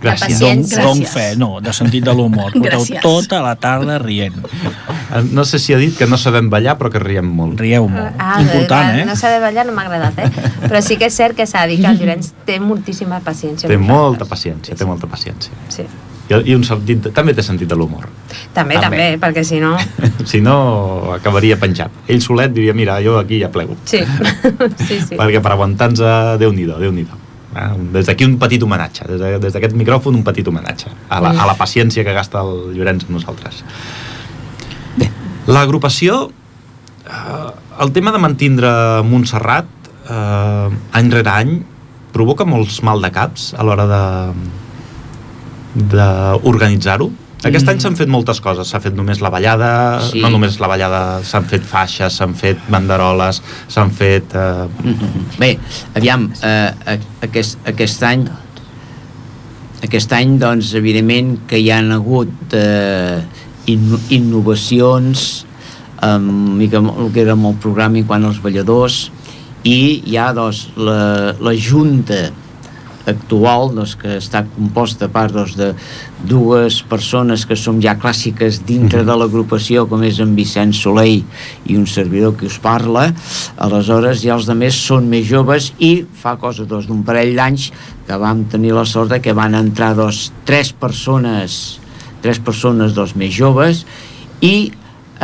Gràcies.
Don,
Gràcies.
don fe, no, de sentit de l'humor. Porteu
Gràcies.
tota la tarda rient.
Eh, No sé si ha dit que no sabem ballar, però que riem molt.
Rieu molt.
Ah,
Important,
no,
eh?
No s'ha de ballar, no m'ha agradat, eh? Però sí que és cert que s'ha de dir que el Llorenç té moltíssima paciència.
Té
amb
molta
nosaltres.
paciència, té molta paciència.
Sí.
I, i un sentit, de- també té sentit de l'humor.
També,
També.
també, també, perquè si no...
si no, acabaria penjat. Ell solet diria, mira, jo aquí ja plego.
Sí, sí, sí.
Perquè per aguantar-nos, eh, Déu-n'hi-do, déu nhi déu Des d'aquí un petit homenatge, des de- des d'aquest micròfon un petit homenatge a la, a la paciència que gasta el Llorenç amb nosaltres. L'agrupació, eh, el tema de mantindre Montserrat eh, any rere any provoca molts mal de caps a l'hora de d'organitzar-ho. Aquest any s'han fet moltes coses, s'ha fet només la ballada,
Sí.
no només la ballada, s'han fet faixes, s'han fet banderoles, s'han fet... Eh,
Mm-hmm. Bé, aviam, eh, a- aquest, aquest any aquest any, doncs, evidentment que hi han hagut eh, in, innovacions amb mica amb el que era amb el programa i quan els balladors i hi ha, doncs, la, la junta actual, doncs, que està composta a part doncs, de dues persones que som ja clàssiques
Mhm.
dintre de l'agrupació, com és en Vicenç Soleil i un servidor que us parla, aleshores ja els de més són més joves i fa cosa doncs, d'un parell d'anys que vam tenir la sort de que van entrar doncs, tres persones tres persones doncs, més joves i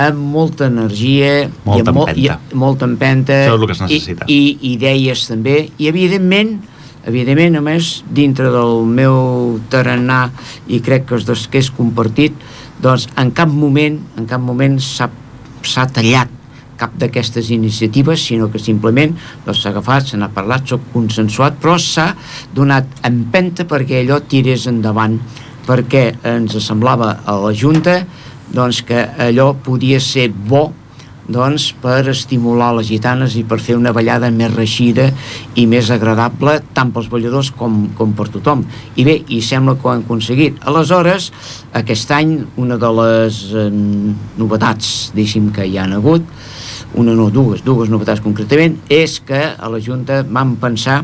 amb molta energia
Molta
i amb i,
empenta.
molta empenta
Això és el que es necessita.
i, i idees també i evidentment evidentment a més dintre del meu tarannà i crec que és dels que és compartit doncs en cap moment en cap moment s'ha s'ha tallat cap d'aquestes iniciatives, sinó que simplement doncs, s'ha agafat, se n'ha parlat, s'ha consensuat, però s'ha donat empenta perquè allò tirés endavant, perquè ens semblava a la Junta doncs, que allò podia ser bo doncs, per estimular les gitanes i per fer una ballada més reixida i més agradable tant pels balladors com, com per tothom. I bé, i sembla que ho han aconseguit. Aleshores, aquest any, una de les eh, novetats, deixi'm que hi han hagut, una no, dues, dues novetats concretament, és que a la Junta vam pensar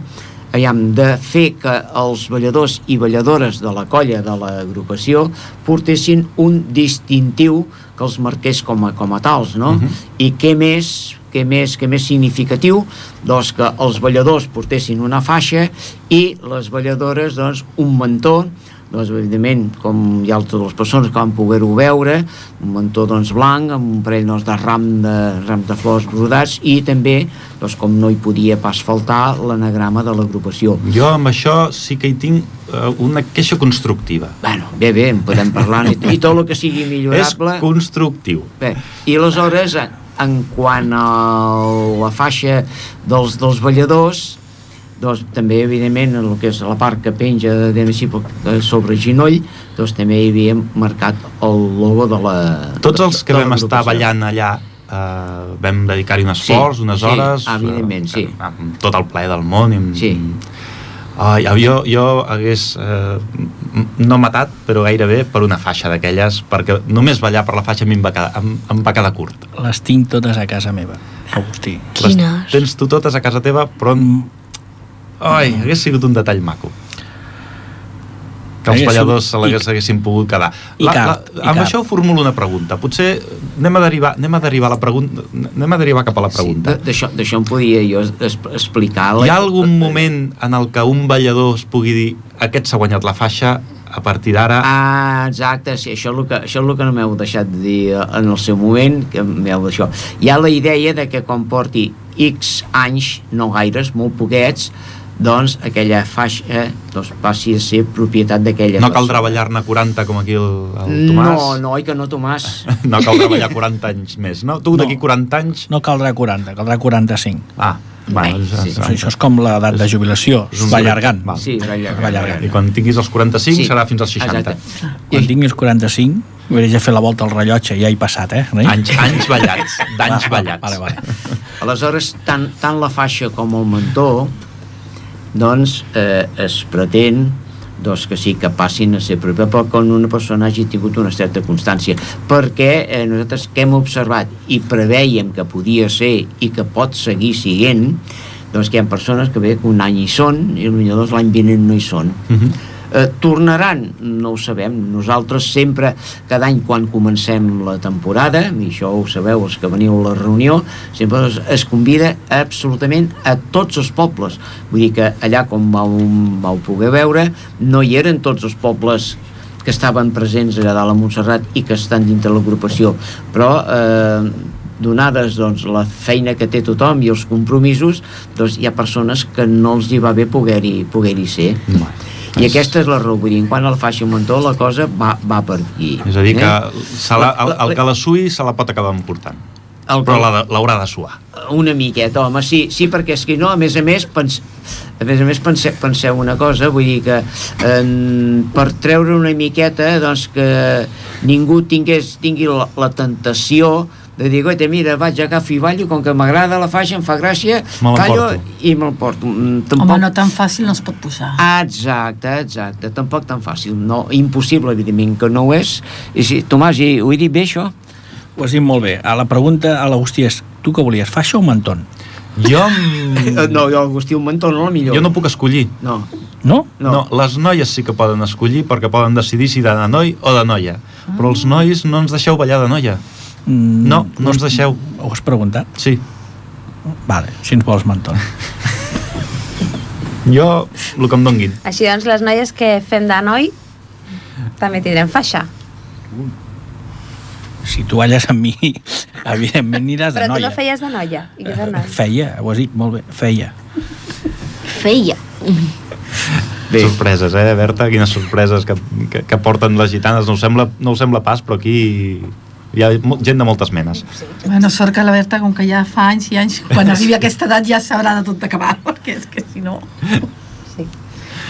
aviam, de fer que els balladors i balladores de la colla de l'agrupació portessin un distintiu que els marqués com a, com a tals, no? Uh -huh. I què més, què més, què més significatiu? Doncs que els balladors portessin una faixa i les balladores, doncs, un mentó, doncs, evidentment, com hi ha totes les persones que van poder-ho veure, un mentó, doncs, blanc, amb un parell, doncs, de ram de, ram de flors brodats i també, doncs, com no hi podia pas faltar, l'anagrama de l'agrupació.
jo amb això sí que hi tinc eh, una queixa constructiva.
Bueno, bé, bé, en podem parlar i, i tot el que sigui millorable...
És constructiu.
Bé, i aleshores, en- en quant a la faixa dels, dels balladors, doncs també, evidentment, en el que és la part que penja de Denisipol sobre ginoll, doncs també hi havia marcat el logo de la...
Tots els que
de
vam estar
l'agrupació.
ballant allà eh, vam dedicar-hi un
Sí,
esforç, unes
sí,
hores... eh,
evidentment, sí.
Amb tot el plaer del món. I amb...
Sí.
Ai, jo, jo hagués eh, m- no matat, però gairebé per una faixa d'aquelles, perquè només ballar per la faixa a mi em va quedar, em, em va quedar curt.
Les tinc totes a casa meva, Agustí.
Quines?
Tens tu totes a casa teva, però... Ai, hagués sigut un detall maco. que els
Haguéssim-
balladors se
i-
l'hagués- s'haguessin pogut quedar.
i cap, i
amb
cap.
això formulo una pregunta. Potser anem a derivar, anem a derivar, la pregunta, anem a derivar cap a la pregunta.
Sí, d'això- D'això em podia jo es, explicar. la-
Hi ha algun moment en el que un ballador es pugui dir aquest s'ha guanyat la faixa, a partir d'ara...
Ah, exacte, sí, això és el que, això és el que no m'heu deixat de dir eh, en el seu moment, que m'heu d'això. Hi ha la idea de que quan porti X anys, no gaires, molt poquets, doncs aquella faixa doncs, passi a ser propietat d'aquella
No cal
persona.
treballar-ne 40 com aquí el, el Tomàs.
No, no, oi que no, Tomàs?
No cal treballar 40 anys més, no? Tu d'aquí
No.
40 anys...
No caldrà 40, caldrà 45.
Ah, bueno,
Bé,
és-
sí.
és-
O sigui, això és com l'edat de jubilació,
és un
es va allargant.
Val.
Sí,
Va allargant.
I quan tinguis els 45
Sí.
sí. serà fins als 60. Exacte.
Exacte.
Quan tinguis 45, m'hauré de fer la volta al rellotge, ja he passat, eh? Rei?
Anys, anys ballats, d'anys
Va,
ballats.
ah, Vale, vale.
Aleshores, tant, tant la faixa com el mentó, doncs, eh, es pretén doncs, que sí, que passin a ser proper, però que una persona hagi tingut una certa constància. Perquè eh, nosaltres que hem observat i preveiem que podia ser i que pot seguir siguent, doncs que hi ha persones que ve que un any hi són i potser doncs, l'any vinent no hi són.
Uh -huh.
Eh, tornaran? No ho sabem. Nosaltres sempre, cada any quan comencem la temporada, i això ho sabeu els que veniu a la reunió, sempre es, es convida absolutament a tots els pobles. Vull dir que allà, com vau, vau poder veure, no hi eren tots els pobles que estaven presents allà dalt a Montserrat i que estan dintre l'agrupació. Però eh, donades doncs, la feina que té tothom i els compromisos, doncs hi ha persones que no els hi va bé poder-hi poder ser. I aquesta és la raó, vull dir, quan el faci un mentó la cosa va, va per aquí. Eh?
És a dir, que se la, el,
La- la-
el que la sui se la pot acabar emportant.
El
Però
que-
la de- l'haurà de suar.
Una miqueta, home, sí, sí, perquè és que no, a més a més, pens, a més a més pense, penseu una cosa, vull dir que eh, per treure una miqueta, doncs que ningú tingués, tingui la, la tentació de dir, goita, mira, vaig, agafo i ballo, com que m'agrada la faixa, em fa gràcia,
Me
callo
l'emporto."
i me'l porto. Mm,
Home, no tan fàcil no es pot posar.
Exacte, exacte, tampoc tan fàcil, no, impossible, evidentment, que no ho és. I si, Tomàs, i, ho he dit bé, això?
Ho has dit molt bé. A la pregunta a l'Agustí és, tu què volies, faixa o menton?
Jo, mm,
Eh, No, jo, Agustí, un mentó, no, millor.
jo no puc escollir.
No,
No?
no.
No, les noies sí que poden escollir perquè poden decidir si de noi o de noia. Però els nois no ens deixeu ballar de noia.
Mm,
No, no ens deixeu.
Ho has preguntat?
Sí.
Vale, si ens vols menton.
Jo, el que em donguin.
Així doncs, les noies que fem de noi també tindrem faixa.
Si tu balles amb mi, evidentment aniràs de
Però tu
noia.
no feies de noia. I que de noi.
Feia, ho has dit molt bé, feia.
Feia.
Bé. Sorpreses, eh, Berta? Quines sorpreses que, que, que porten les gitanes. No ho, sembla, no ho sembla pas, però aquí hi ha mo- gent de moltes menes.
Bueno, sort que la Berta, com que ja fa anys i anys, quan arribi a aquesta edat ja sabrà de tot acabar, perquè és que si no...
Sí.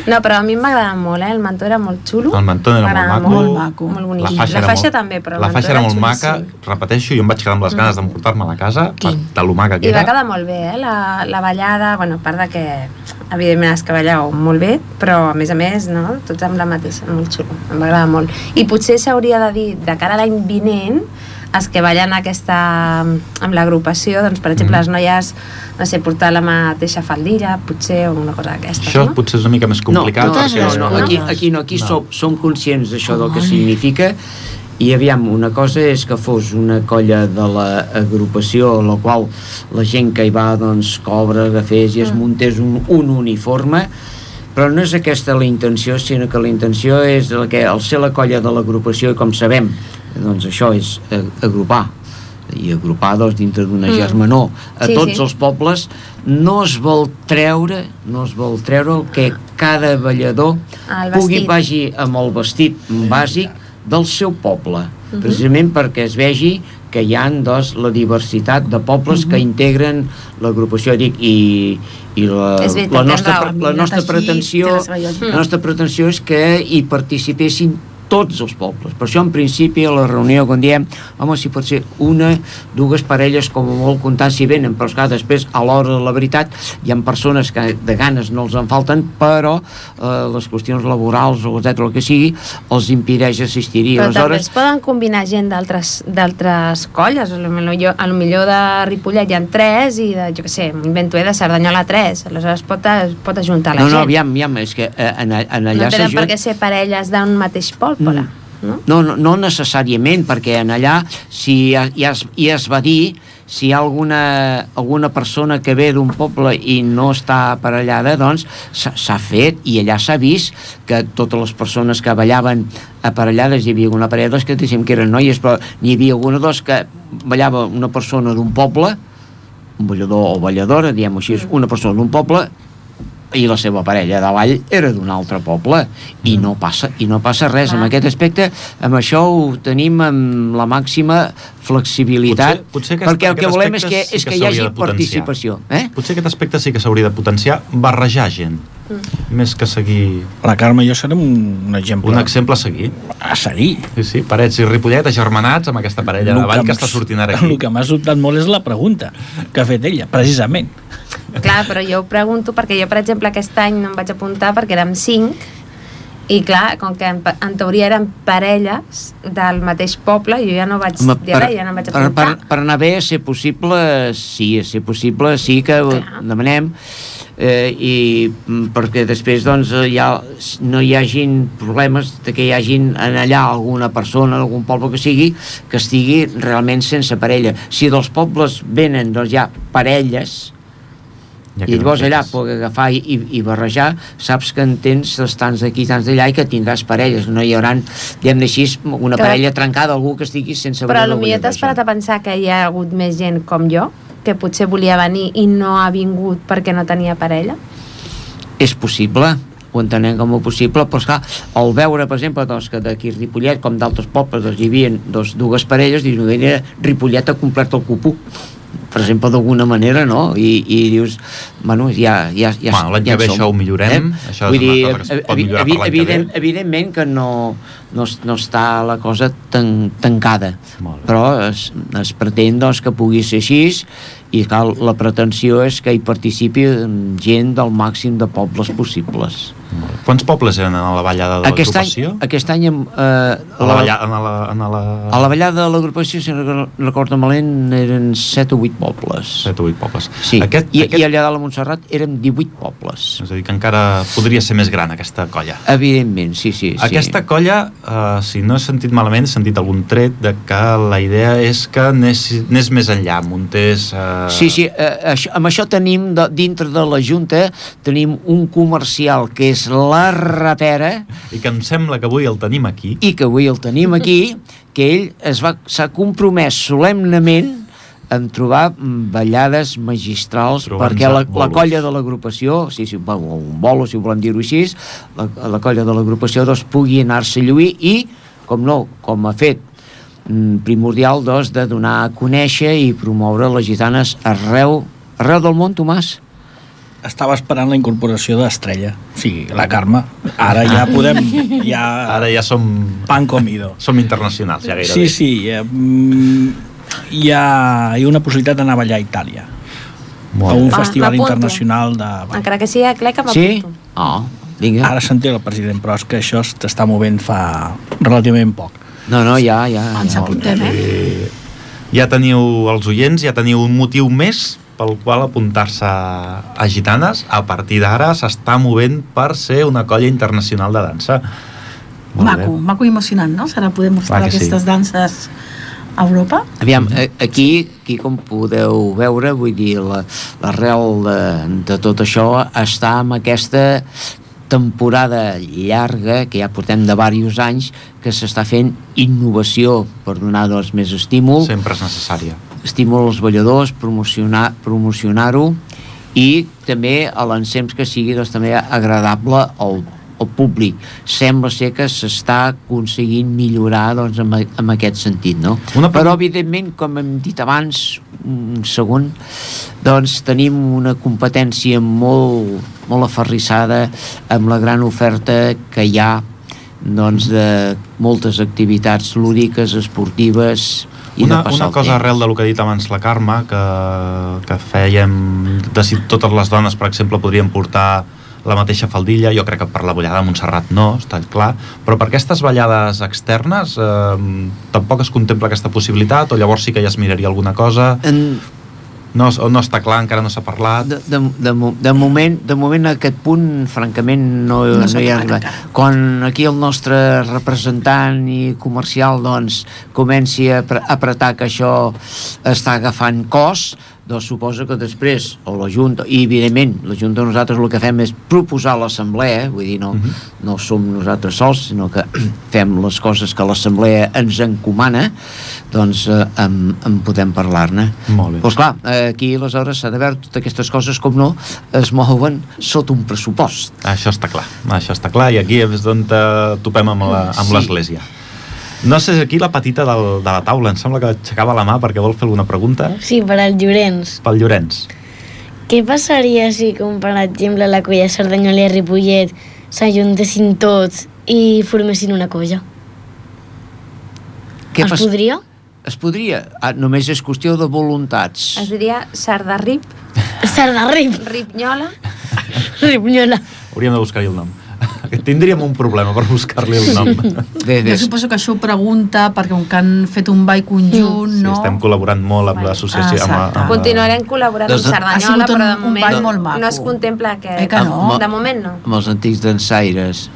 No, però a mi m'agradava molt, eh? El mantó era molt xulo.
El mantó era molt
M'agradava
maco.
Molt maco.
Molt bonic.
La faixa,
la
era
faixa
molt,
també, però el
la
mantó
faixa era molt maca,
xulíssim.
repeteixo, jo em vaig quedar amb les ganes d'emportar-me a la casa, per, de lo maca que
I va
era.
quedar molt bé, eh? La, la ballada, bueno, a part de que evidentment es que balleu molt bé, però a més a més, no? Tots amb la mateixa, molt xulo, em va agradar molt. I potser s'hauria de dir, de cara a l'any vinent, els que ballen aquesta, amb l'agrupació, doncs, per exemple,
Mhm.
les noies, no sé, portar la mateixa faldilla, potser, o una cosa d'aquestes,
Això
no?
potser és una mica més complicat.
No,
totes
perquè-
les
no, no, no, aquí, aquí no, aquí
No.
no. Som, som conscients d'això del que significa i aviam, una cosa és que fos una colla de l'agrupació la qual la gent que hi va doncs cobra, agafés i es muntés un, un uniforme però no és aquesta la intenció, sinó que la intenció és el que, al ser la colla de l'agrupació i com sabem, doncs això és eh, agrupar i agrupar doncs, dintre d'una
Mm.
mm. germanor a
Sí,
sí, tots
sí.
sí. els pobles no es vol treure no es vol treure el que cada ballador
Ah, El
pugui
vestit.
vagi amb el vestit bàsic del seu poble
Mhm.
precisament perquè es vegi que hi ha doncs, la diversitat de pobles
Mhm.
que integren l'agrupació dic, i, i la,
És veritat,
la
tens
nostra,
raó.
la nostra
Teixit,
Mm.
pretensió
té la seva
la nostra pretensió és que hi participessin tots els pobles. Per això, en principi, a la reunió, quan diem, home, si pot ser una, dues parelles, com a molt, comptant si venen, però esclar, després, a l'hora de la veritat, hi ha persones que de ganes no els en falten, però eh, les qüestions laborals o etcètera, el que sigui, els impideix assistir-hi.
Però també
Aleshores,
es poden combinar gent d'altres d'altres colles, a lo millor, a lo millor de Ripollet hi ha tres i de, jo què sé, m'ho invento eh, de Cerdanyola tres, aleshores pot, es pot ajuntar la
no,
gent.
no, aviam, aviam, és que eh, en, en allà
no tenen per
s'ajunt-
què ser parelles d'un mateix poble, mm. no?
No, no, no necessàriament, perquè en allà si ja, ja, es, ja es va dir si hi ha alguna, alguna persona que ve d'un poble i no està aparellada, doncs s'ha s'ha fet i allà s'ha vist que totes les persones que ballaven aparellades, hi havia una parella, dos que diguéssim que eren noies, però n'hi havia alguna dos que ballava una persona d'un poble, un ballador o balladora, diguem-ho així,
Mm.
una persona d'un poble i la seva parella de ball era d'un altre poble i no passa, i no passa res en
Ah.
Clar.
aquest aspecte, amb això ho tenim amb la màxima flexibilitat
Potser- potser aquest-
perquè el que
aquest
volem és
aspecte
que,
sí
és
que
que hi
s'hauria
hagi
de potenciar.
participació eh?
Potser aquest aspecte sí que s'hauria de potenciar, barrejar gent,
Mm.
més que seguir...
La Carme i jo serem un, un exemple.
Un exemple a seguir.
A seguir.
Sí, sí, Parets i Ripollet agermanats amb aquesta parella de ball que està sortint ara
El
aquí.
que m'ha sobtat molt és la pregunta que ha fet ella, precisament.
Clar, però jo ho pregunto perquè jo, per exemple, aquest any no em vaig apuntar perquè érem cinc i clar, com que en, pa- en teoria eren parelles del mateix poble, jo ja no vaig
Home,
dir res, ja no em vaig
per, per,
apuntar.
per anar bé, a ser possible, sí, a ser possible, sí que ho
Clar.
demanem, eh, i mm, perquè després doncs, eh, ja s- no hi hagin problemes de que hi hagin en allà alguna persona, algun poble que sigui, que estigui realment sense parella. Si dels pobles venen doncs, ja parelles,
Ja
i
queden
llavors allà
fetes.
poder agafar i, i, i barrejar, saps que en tens els tants d'aquí, tants d'allà i que tindràs parelles, no hi haurà, diguem-ne així, una
Clar.
parella trencada, algú que estigui sense
Però
ballador,
potser t'has
balladora.
parat a pensar que hi ha hagut més gent com jo, que potser volia venir i no ha vingut perquè no tenia parella.
és possible ho entenem com a possible, però esclar, al veure, per exemple, doncs, que d'aquí a Ripollet, com d'altres pobles, doncs, hi havia doncs, dues parelles, dius, mira, Ripollet ha complert el cupú, per exemple, d'alguna manera, no? I, i dius, bueno, ja, ja, ja,
Bueno, l'any
ja
que ve
en som, Eh?
això ho millorem, això és
Vull
una
dir,
cosa que es pot
evi-
millorar per
evi-
l'any que ve.
evidentment que no, no, es- no està la cosa tan, tancada
Molt bé.
però es, es pretén doncs, que pugui ser així i cal, la pretensió és que hi participi mm, gent del màxim de pobles possibles
Molt bé. Quants pobles eren a la ballada de
aquest any,
l'agrupació?
aquest any em, eh,
A la, balla, en la, en la...
a la ballada de l'agrupació, si no recor- recordo malament, eren 7 o 8 pobles.
7 o 8 pobles.
Sí,
Aquest,
I,
aquest,
i allà dalt a Montserrat eren 18 pobles.
És a dir, que encara podria ser més gran aquesta colla.
Evidentment, sí, sí. sí.
Aquesta colla, eh, si no he sentit malament, he sentit algun tret de que la idea és que anés, anés més enllà, muntés... Eh...
Sí, sí, eh, això, amb això tenim, de, dintre de la Junta, tenim un comercial que és la ratera,
I que em sembla que avui el tenim aquí.
i que avui el tenim aquí, que ell es va- s'ha compromès solemnament en trobar mm, ballades magistrals
Trobar-nos
perquè la, la
bolos.
colla de l'agrupació, sí, sí, bueno, un bolo, si volem dir-ho així, la, la colla de l'agrupació doncs, pugui anar-se a lluir i, com no, com ha fet mm, primordial, doncs, de donar a conèixer i promoure les gitanes arreu, arreu del món, Tomàs.
Estava esperant la incorporació d'Estrella. Sí, la Carme. Ara ja podem... Ja...
Ara ja som,
Pan comido.
som internacionals, ja gairebé.
Sí, sí. Eh, mm, hi, ha, hi ha una possibilitat d'anar a ballar a Itàlia. A un
Molt bé.
Ah,
festival
m'apunto.
internacional de... ball.
Encara que sigui a Cleca,
Sí?
m'apunto.
Oh, vinga.
Ara s'entén el president, però és que això s'està movent fa relativament poc.
No, no, ja, ja.
Ens
ja.
apuntem, eh?
Ja teniu els oients, ja teniu un motiu més pel qual apuntar-se a Gitanes. A partir d'ara s'està movent per ser una colla internacional de dansa. Molt bé.
Maco, maco i emocionant, no? Serà poder mostrar
que sí.
aquestes danses a Europa?
Aviam, a- aquí, aquí com podeu veure, vull dir, la- l'arrel de, de tot això està amb aquesta temporada llarga que ja portem de diversos anys que s'està fent innovació per donar doncs, més estímul
Sempre és necessària.
estímul als balladors, promocionar- promocionar-ho i també a l'ensems que sigui doncs, també agradable al, al públic. Sembla ser que s'està aconseguint millorar doncs, en, a- en aquest sentit, no?
Una
Una...
pre-
Però, evidentment, com hem dit abans, un segon, doncs tenim una competència molt, molt aferrissada amb la gran oferta que hi ha doncs, de moltes activitats lúdiques, esportives i
una,
de passar
una
el
cosa
temps.
arrel del que ha dit abans la Carme, que, que fèiem, de si totes les dones, per exemple, podrien portar la mateixa faldilla, jo crec que per la ballada de Montserrat no, està clar, però per aquestes ballades externes eh, tampoc es contempla aquesta possibilitat o llavors sí que ja es miraria alguna cosa
En,
no, es- o no està clar, encara no s'ha parlat
Ah.
de, de, de, mo- de, moment, de moment a aquest punt francament no,
No
no,
s'ha
no hi ha
tocat
arribat
encara.
quan aquí el nostre representant i comercial doncs comenci a apre- a apretar que això està agafant cos doncs suposa que després o la Junta, i evidentment la Junta nosaltres el que fem és proposar a l'Assemblea eh? vull dir, no,
Mhm.
no som nosaltres sols sinó que fem les coses que l'Assemblea ens encomana doncs eh, en, en podem parlar-ne
Molt bé.
Però, esclar, eh, aquí aleshores s'ha de veure totes aquestes coses com no es mouen sota un pressupost
Això està clar, això està clar, i aquí és on eh, topem amb la- amb
Sí.
l'Església. No sé, aquí la petita del, de la taula, em sembla que aixecava la mà perquè vol fer alguna pregunta.
Sí, per als Llorenç.
Pel Llorenç.
Què passaria si, com per exemple, la colla de Cerdanyola i Ripollet s'ajuntessin tots i formessin una colla?
Què
es
pas-
podria?
es podria, ah, només és qüestió de voluntats
Es diria Sardarrip,
Cerdarrip,
Ripnyola,
Ah,
Ripnyola.
Hauríem de buscar-hi el nom. Tindríem un problema per buscar-li el nom.
de,
Jo suposo que això ho pregunta perquè com que han fet un ball conjunt,
Sí,
no? Ah,
estem col·laborant molt amb l'associació. amb la-
Exacte.
amb la-
Continuarem col·laborant
Doncs
amb
ha
Cerdanyola,
sigut un-
però de
un
moment
ball molt maco.
no es contempla que...
Eh que no?
De moment no.
amb els antics dansaires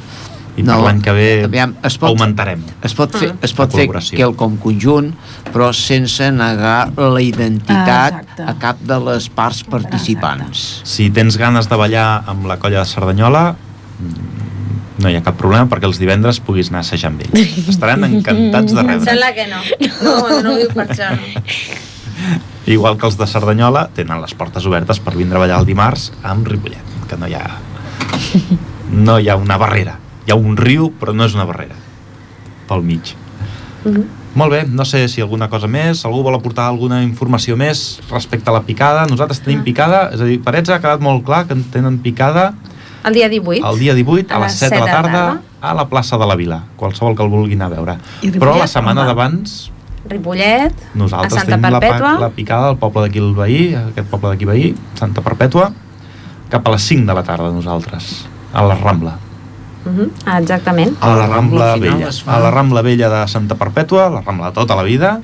I per l'any que ve
aviam, es pot,
augmentarem.
es pot fer, es pot
La
fer
col·laboració.
quelcom conjunt però sense negar la
Ah,
identitat
exacte.
a cap de les parts participants
Si tens ganes de ballar amb la colla de Cerdanyola, mm, no hi ha cap problema perquè els divendres puguis anar a assajar amb ells. Estaran encantats de
Em
rebre.
sembla que no. No, no ho diu per això. No.
Igual que els de Cerdanyola tenen les portes obertes per vindre a ballar el dimarts amb Ripollet, que no hi ha, no hi ha una barrera. Hi ha un riu, però no és una barrera. Pel mig.
Mhm.
Molt bé, no sé si alguna cosa més, algú vol aportar alguna informació més respecte a la picada. Nosaltres tenim picada, és a dir, Parets ha quedat molt clar que en tenen picada
El dia 18.
el dia 18 a,
A
les 7 de la tarda a la plaça de la Vila, qualsevol que el vulguin a veure.
I Ripollet,
Però la
on
setmana
va?
d'abans
Ripollet,
nosaltres
a Santa
tenim la,
Perpètua.
pa- la picada del poble d'aquí el veí, aquest poble d'aquí veí, Santa Perpètua, cap a les 5 de la tarda nosaltres, a la Rambla.
Mhm, exactament.
A la Rambla
Al final
Vella.
es fa-
A la Rambla Vella de Santa Perpètua, la Rambla de tota la vida,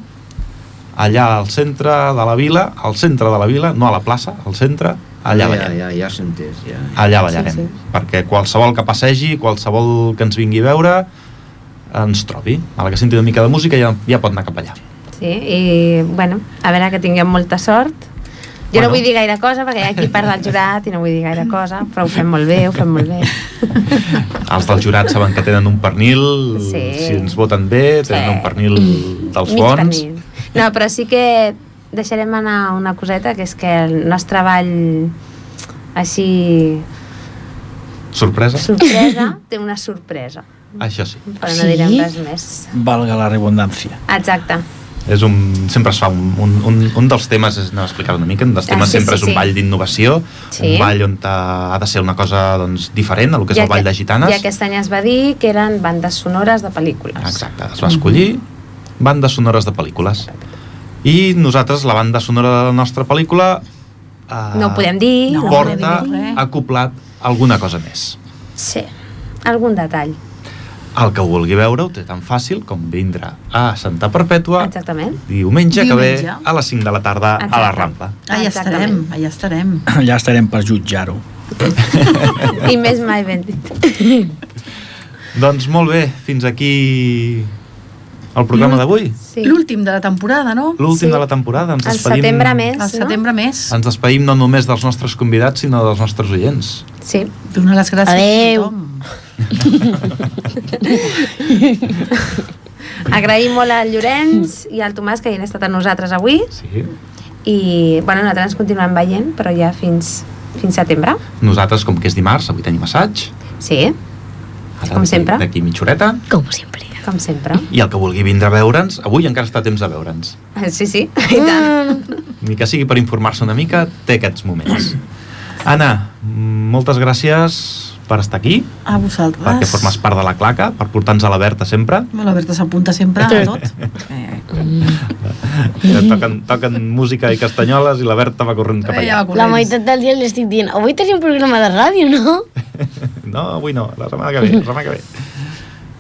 allà al centre de la vila, al centre de la vila, no a la plaça, al centre, allà ballarem.
ja, ja s'entès ja.
Allà ballarem.
Sí,
Sí,
sí.
sí. Perquè qualsevol que passegi, qualsevol que ens vingui a veure, ens trobi. A la que senti una mica de música ja, ja pot anar cap allà.
Sí, i bueno, a veure que tinguem molta sort. Jo
Bueno.
no vull dir gaire cosa perquè hi ha aquí part del jurat i no vull dir gaire cosa, però ho fem molt bé, ho fem molt bé.
Els del jurat saben que tenen un pernil, sí.
Sí.
si ens voten bé, tenen
Sí.
sí. un pernil dels
Mig
bons.
pernil. No, però sí que deixarem anar una coseta, que és que el nostre ball així
Sorpresa? Sí.
sorpresa té una sorpresa,
Això sí.
però no
Sí?
direm res més.
Valga la redundància.
Exacte.
És un, sempre es fa un, un, un, un dels temes, és, no, explicar una mica, un dels
Ah,
temes
sí, sí,
sempre és un
sí.
ball d'innovació,
Sí.
un ball on ha, ha de ser una cosa doncs, diferent a lo que és
I
el ball
aqu-
de gitanes.
I aquest any es va dir que eren bandes sonores de pel·lícules.
Exacte, es va escollir bandes sonores de pel·lícules. I nosaltres, la banda sonora de la nostra pel·lícula... Eh,
No ho podem dir,
No,
no,
ho
Porta
podem dir.
acoplat alguna cosa més.
Sí, algun detall.
El que ho vulgui veure ho té tan fàcil com vindre a Santa Perpètua
Exactament.
diumenge, que ve
Diumenge.
a les 5 de la tarda a la
Exacte.
Rambla.
Allà estarem,
Ah, Exactament.
allà estarem.
Allà estarem per jutjar-ho.
I més mai ben dit.
Doncs molt bé, fins aquí el programa d'avui.
Sí.
L'últim de la temporada, no?
L'últim
Sí.
de la temporada. Ens
El
despedim,
setembre més,
Al setembre més.
Ens despedim no només dels nostres convidats, sinó dels nostres oients.
no? Sí.
Donar les gràcies
Adeu.
a tothom.
Agraïm molt al Llorenç i al Tomàs que hi han estat amb nosaltres avui
Sí.
i bueno, nosaltres ens continuem veient però ja fins, fins setembre.
Nosaltres, com que és dimarts, avui tenim assaig.
Sí,
Ara,
Com
d'aquí-
sempre.
D'aquí mitja horeta.
Com sempre.
com sempre.
I el que vulgui vindre a veure'ns, avui encara està a temps de veure'ns.
Sí, sí, i tant.
Ni que sigui per informar-se una mica, té aquests moments. Anna, mm, moltes gràcies per estar aquí,
A vosaltres.
perquè formes part de la claca, per portar-nos a la Berta sempre.
Bueno, la Berta s'apunta sempre a tot. Eh,
Que toquen, toquen música i castanyoles i la Berta va corrent cap
Ella
allà.
va corrents.
La meitat del dia li estic dient, avui tenim un programa de ràdio, no?
No, avui no, la setmana que ve, la setmana que ve.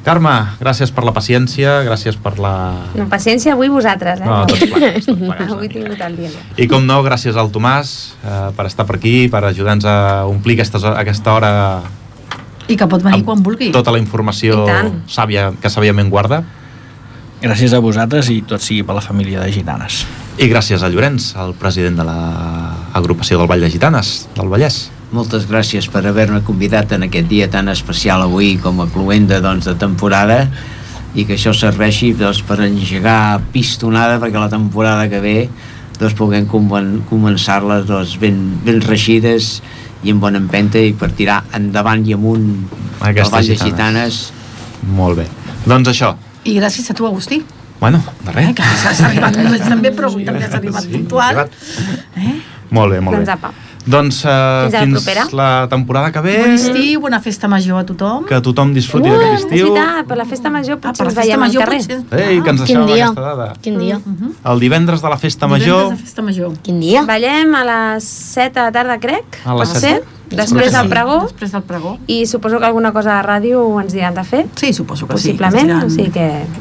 Carme, gràcies per la paciència, gràcies per la...
No, paciència avui vosaltres, eh?
No, tots plegats, eh? tots plegats.
Avui he
una mica.
tingut el dia. bo.
I com no, gràcies al Tomàs eh, per estar per aquí, per ajudar-nos a omplir aquestes, aquesta hora
I que pot venir quan vulgui.
tota la informació
I tant.
sàvia que sàviament guarda.
Gràcies a vosaltres i tot sigui per la família de Gitanes.
I gràcies a Llorenç, el president de l'agrupació del Vall de Gitanes, del Vallès.
Moltes gràcies per haver-me convidat en aquest dia tan especial avui com a cluenda doncs, de temporada i que això serveixi doncs, per engegar pistonada perquè la temporada que ve doncs, puguem comen- començar-les doncs, ben, ben reeixides i amb bona empenta i per tirar endavant i amunt
Aquestes
el Vall de
gitanes.
Gitanes.
Molt bé. Doncs això.
I gràcies a tu, Agustí.
Bueno, de
Eh,
res.
que has arribat només també, però avui també has arribat
Ah, Sí,
puntual. Eh?
arribat. Molt bé, molt
Doncs
bé.
apa.
Doncs
Fins
uh,
a la
fins
propera. Doncs
la temporada que ve,
Bon estiu, bona festa major a tothom.
que tothom disfruti d'aquest
És
estiu.
veritat, per la festa major
Ah,
potser
per la
ens
festa
veiem al
major
carrer.
potser-
Ei, que ens
Quin
deixava
dia?
aquesta dada.
Quin dia?
Mm.
El divendres de la festa
Ah, Mhm. Divendres
major,
de festa major.
Quin dia?
Ballem a les 7 de la tarda, crec,
A les
pot ser,
set?
després
Crec que
del
sí.
pregó,
Després del pregó.
i suposo que alguna cosa de ràdio ens diran de fer,
Sí, suposo que sí.
possiblement,
Ens
o sigui
diran-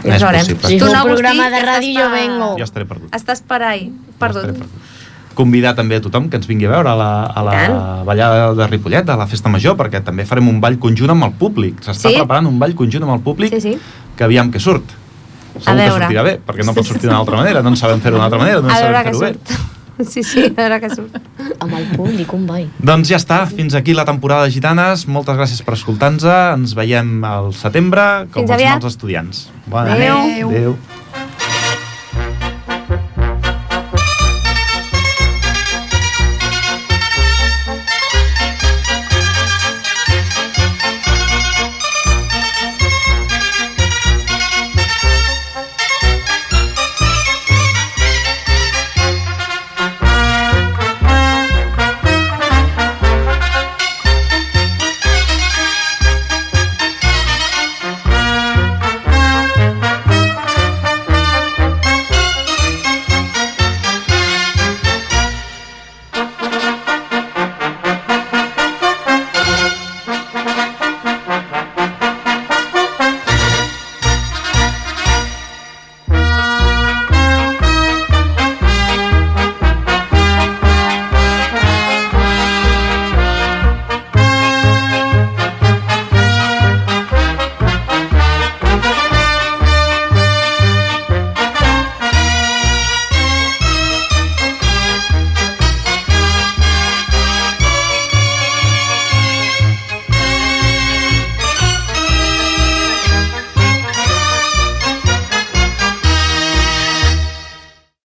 que ja
És
ens veurem.
possible.
Si
Tu
feu
no,
un programa
Agustí,
de
que
ràdio,
estàs
jo
pa-
vengo.
jo estaré perdut.
Estàs per ahí,
Estaré
perdut.
perdut. Convidar també a tothom que ens vingui a veure a la, a la
I tant.
ballada de Ripollet, a la Festa Major, perquè també farem un ball conjunt amb el públic. S'està
Sí?
preparant un ball conjunt amb el públic
Sí, sí.
que aviam que surt. Segur que
veure.
sortirà bé, perquè no pot sortir d'una altra manera, no en sabem fer d'una altra manera, no en
A veure
sabem
què
fer-ho bé.
surt. Sí, sí, a veure què surt.
Amb el públic, un ball.
Doncs ja està, fins aquí la temporada de Gitanes. Moltes gràcies per escoltar-nos. Ens veiem al setembre, com
Fins
els
aviat.
mals estudiants.
Adéu.
Adéu.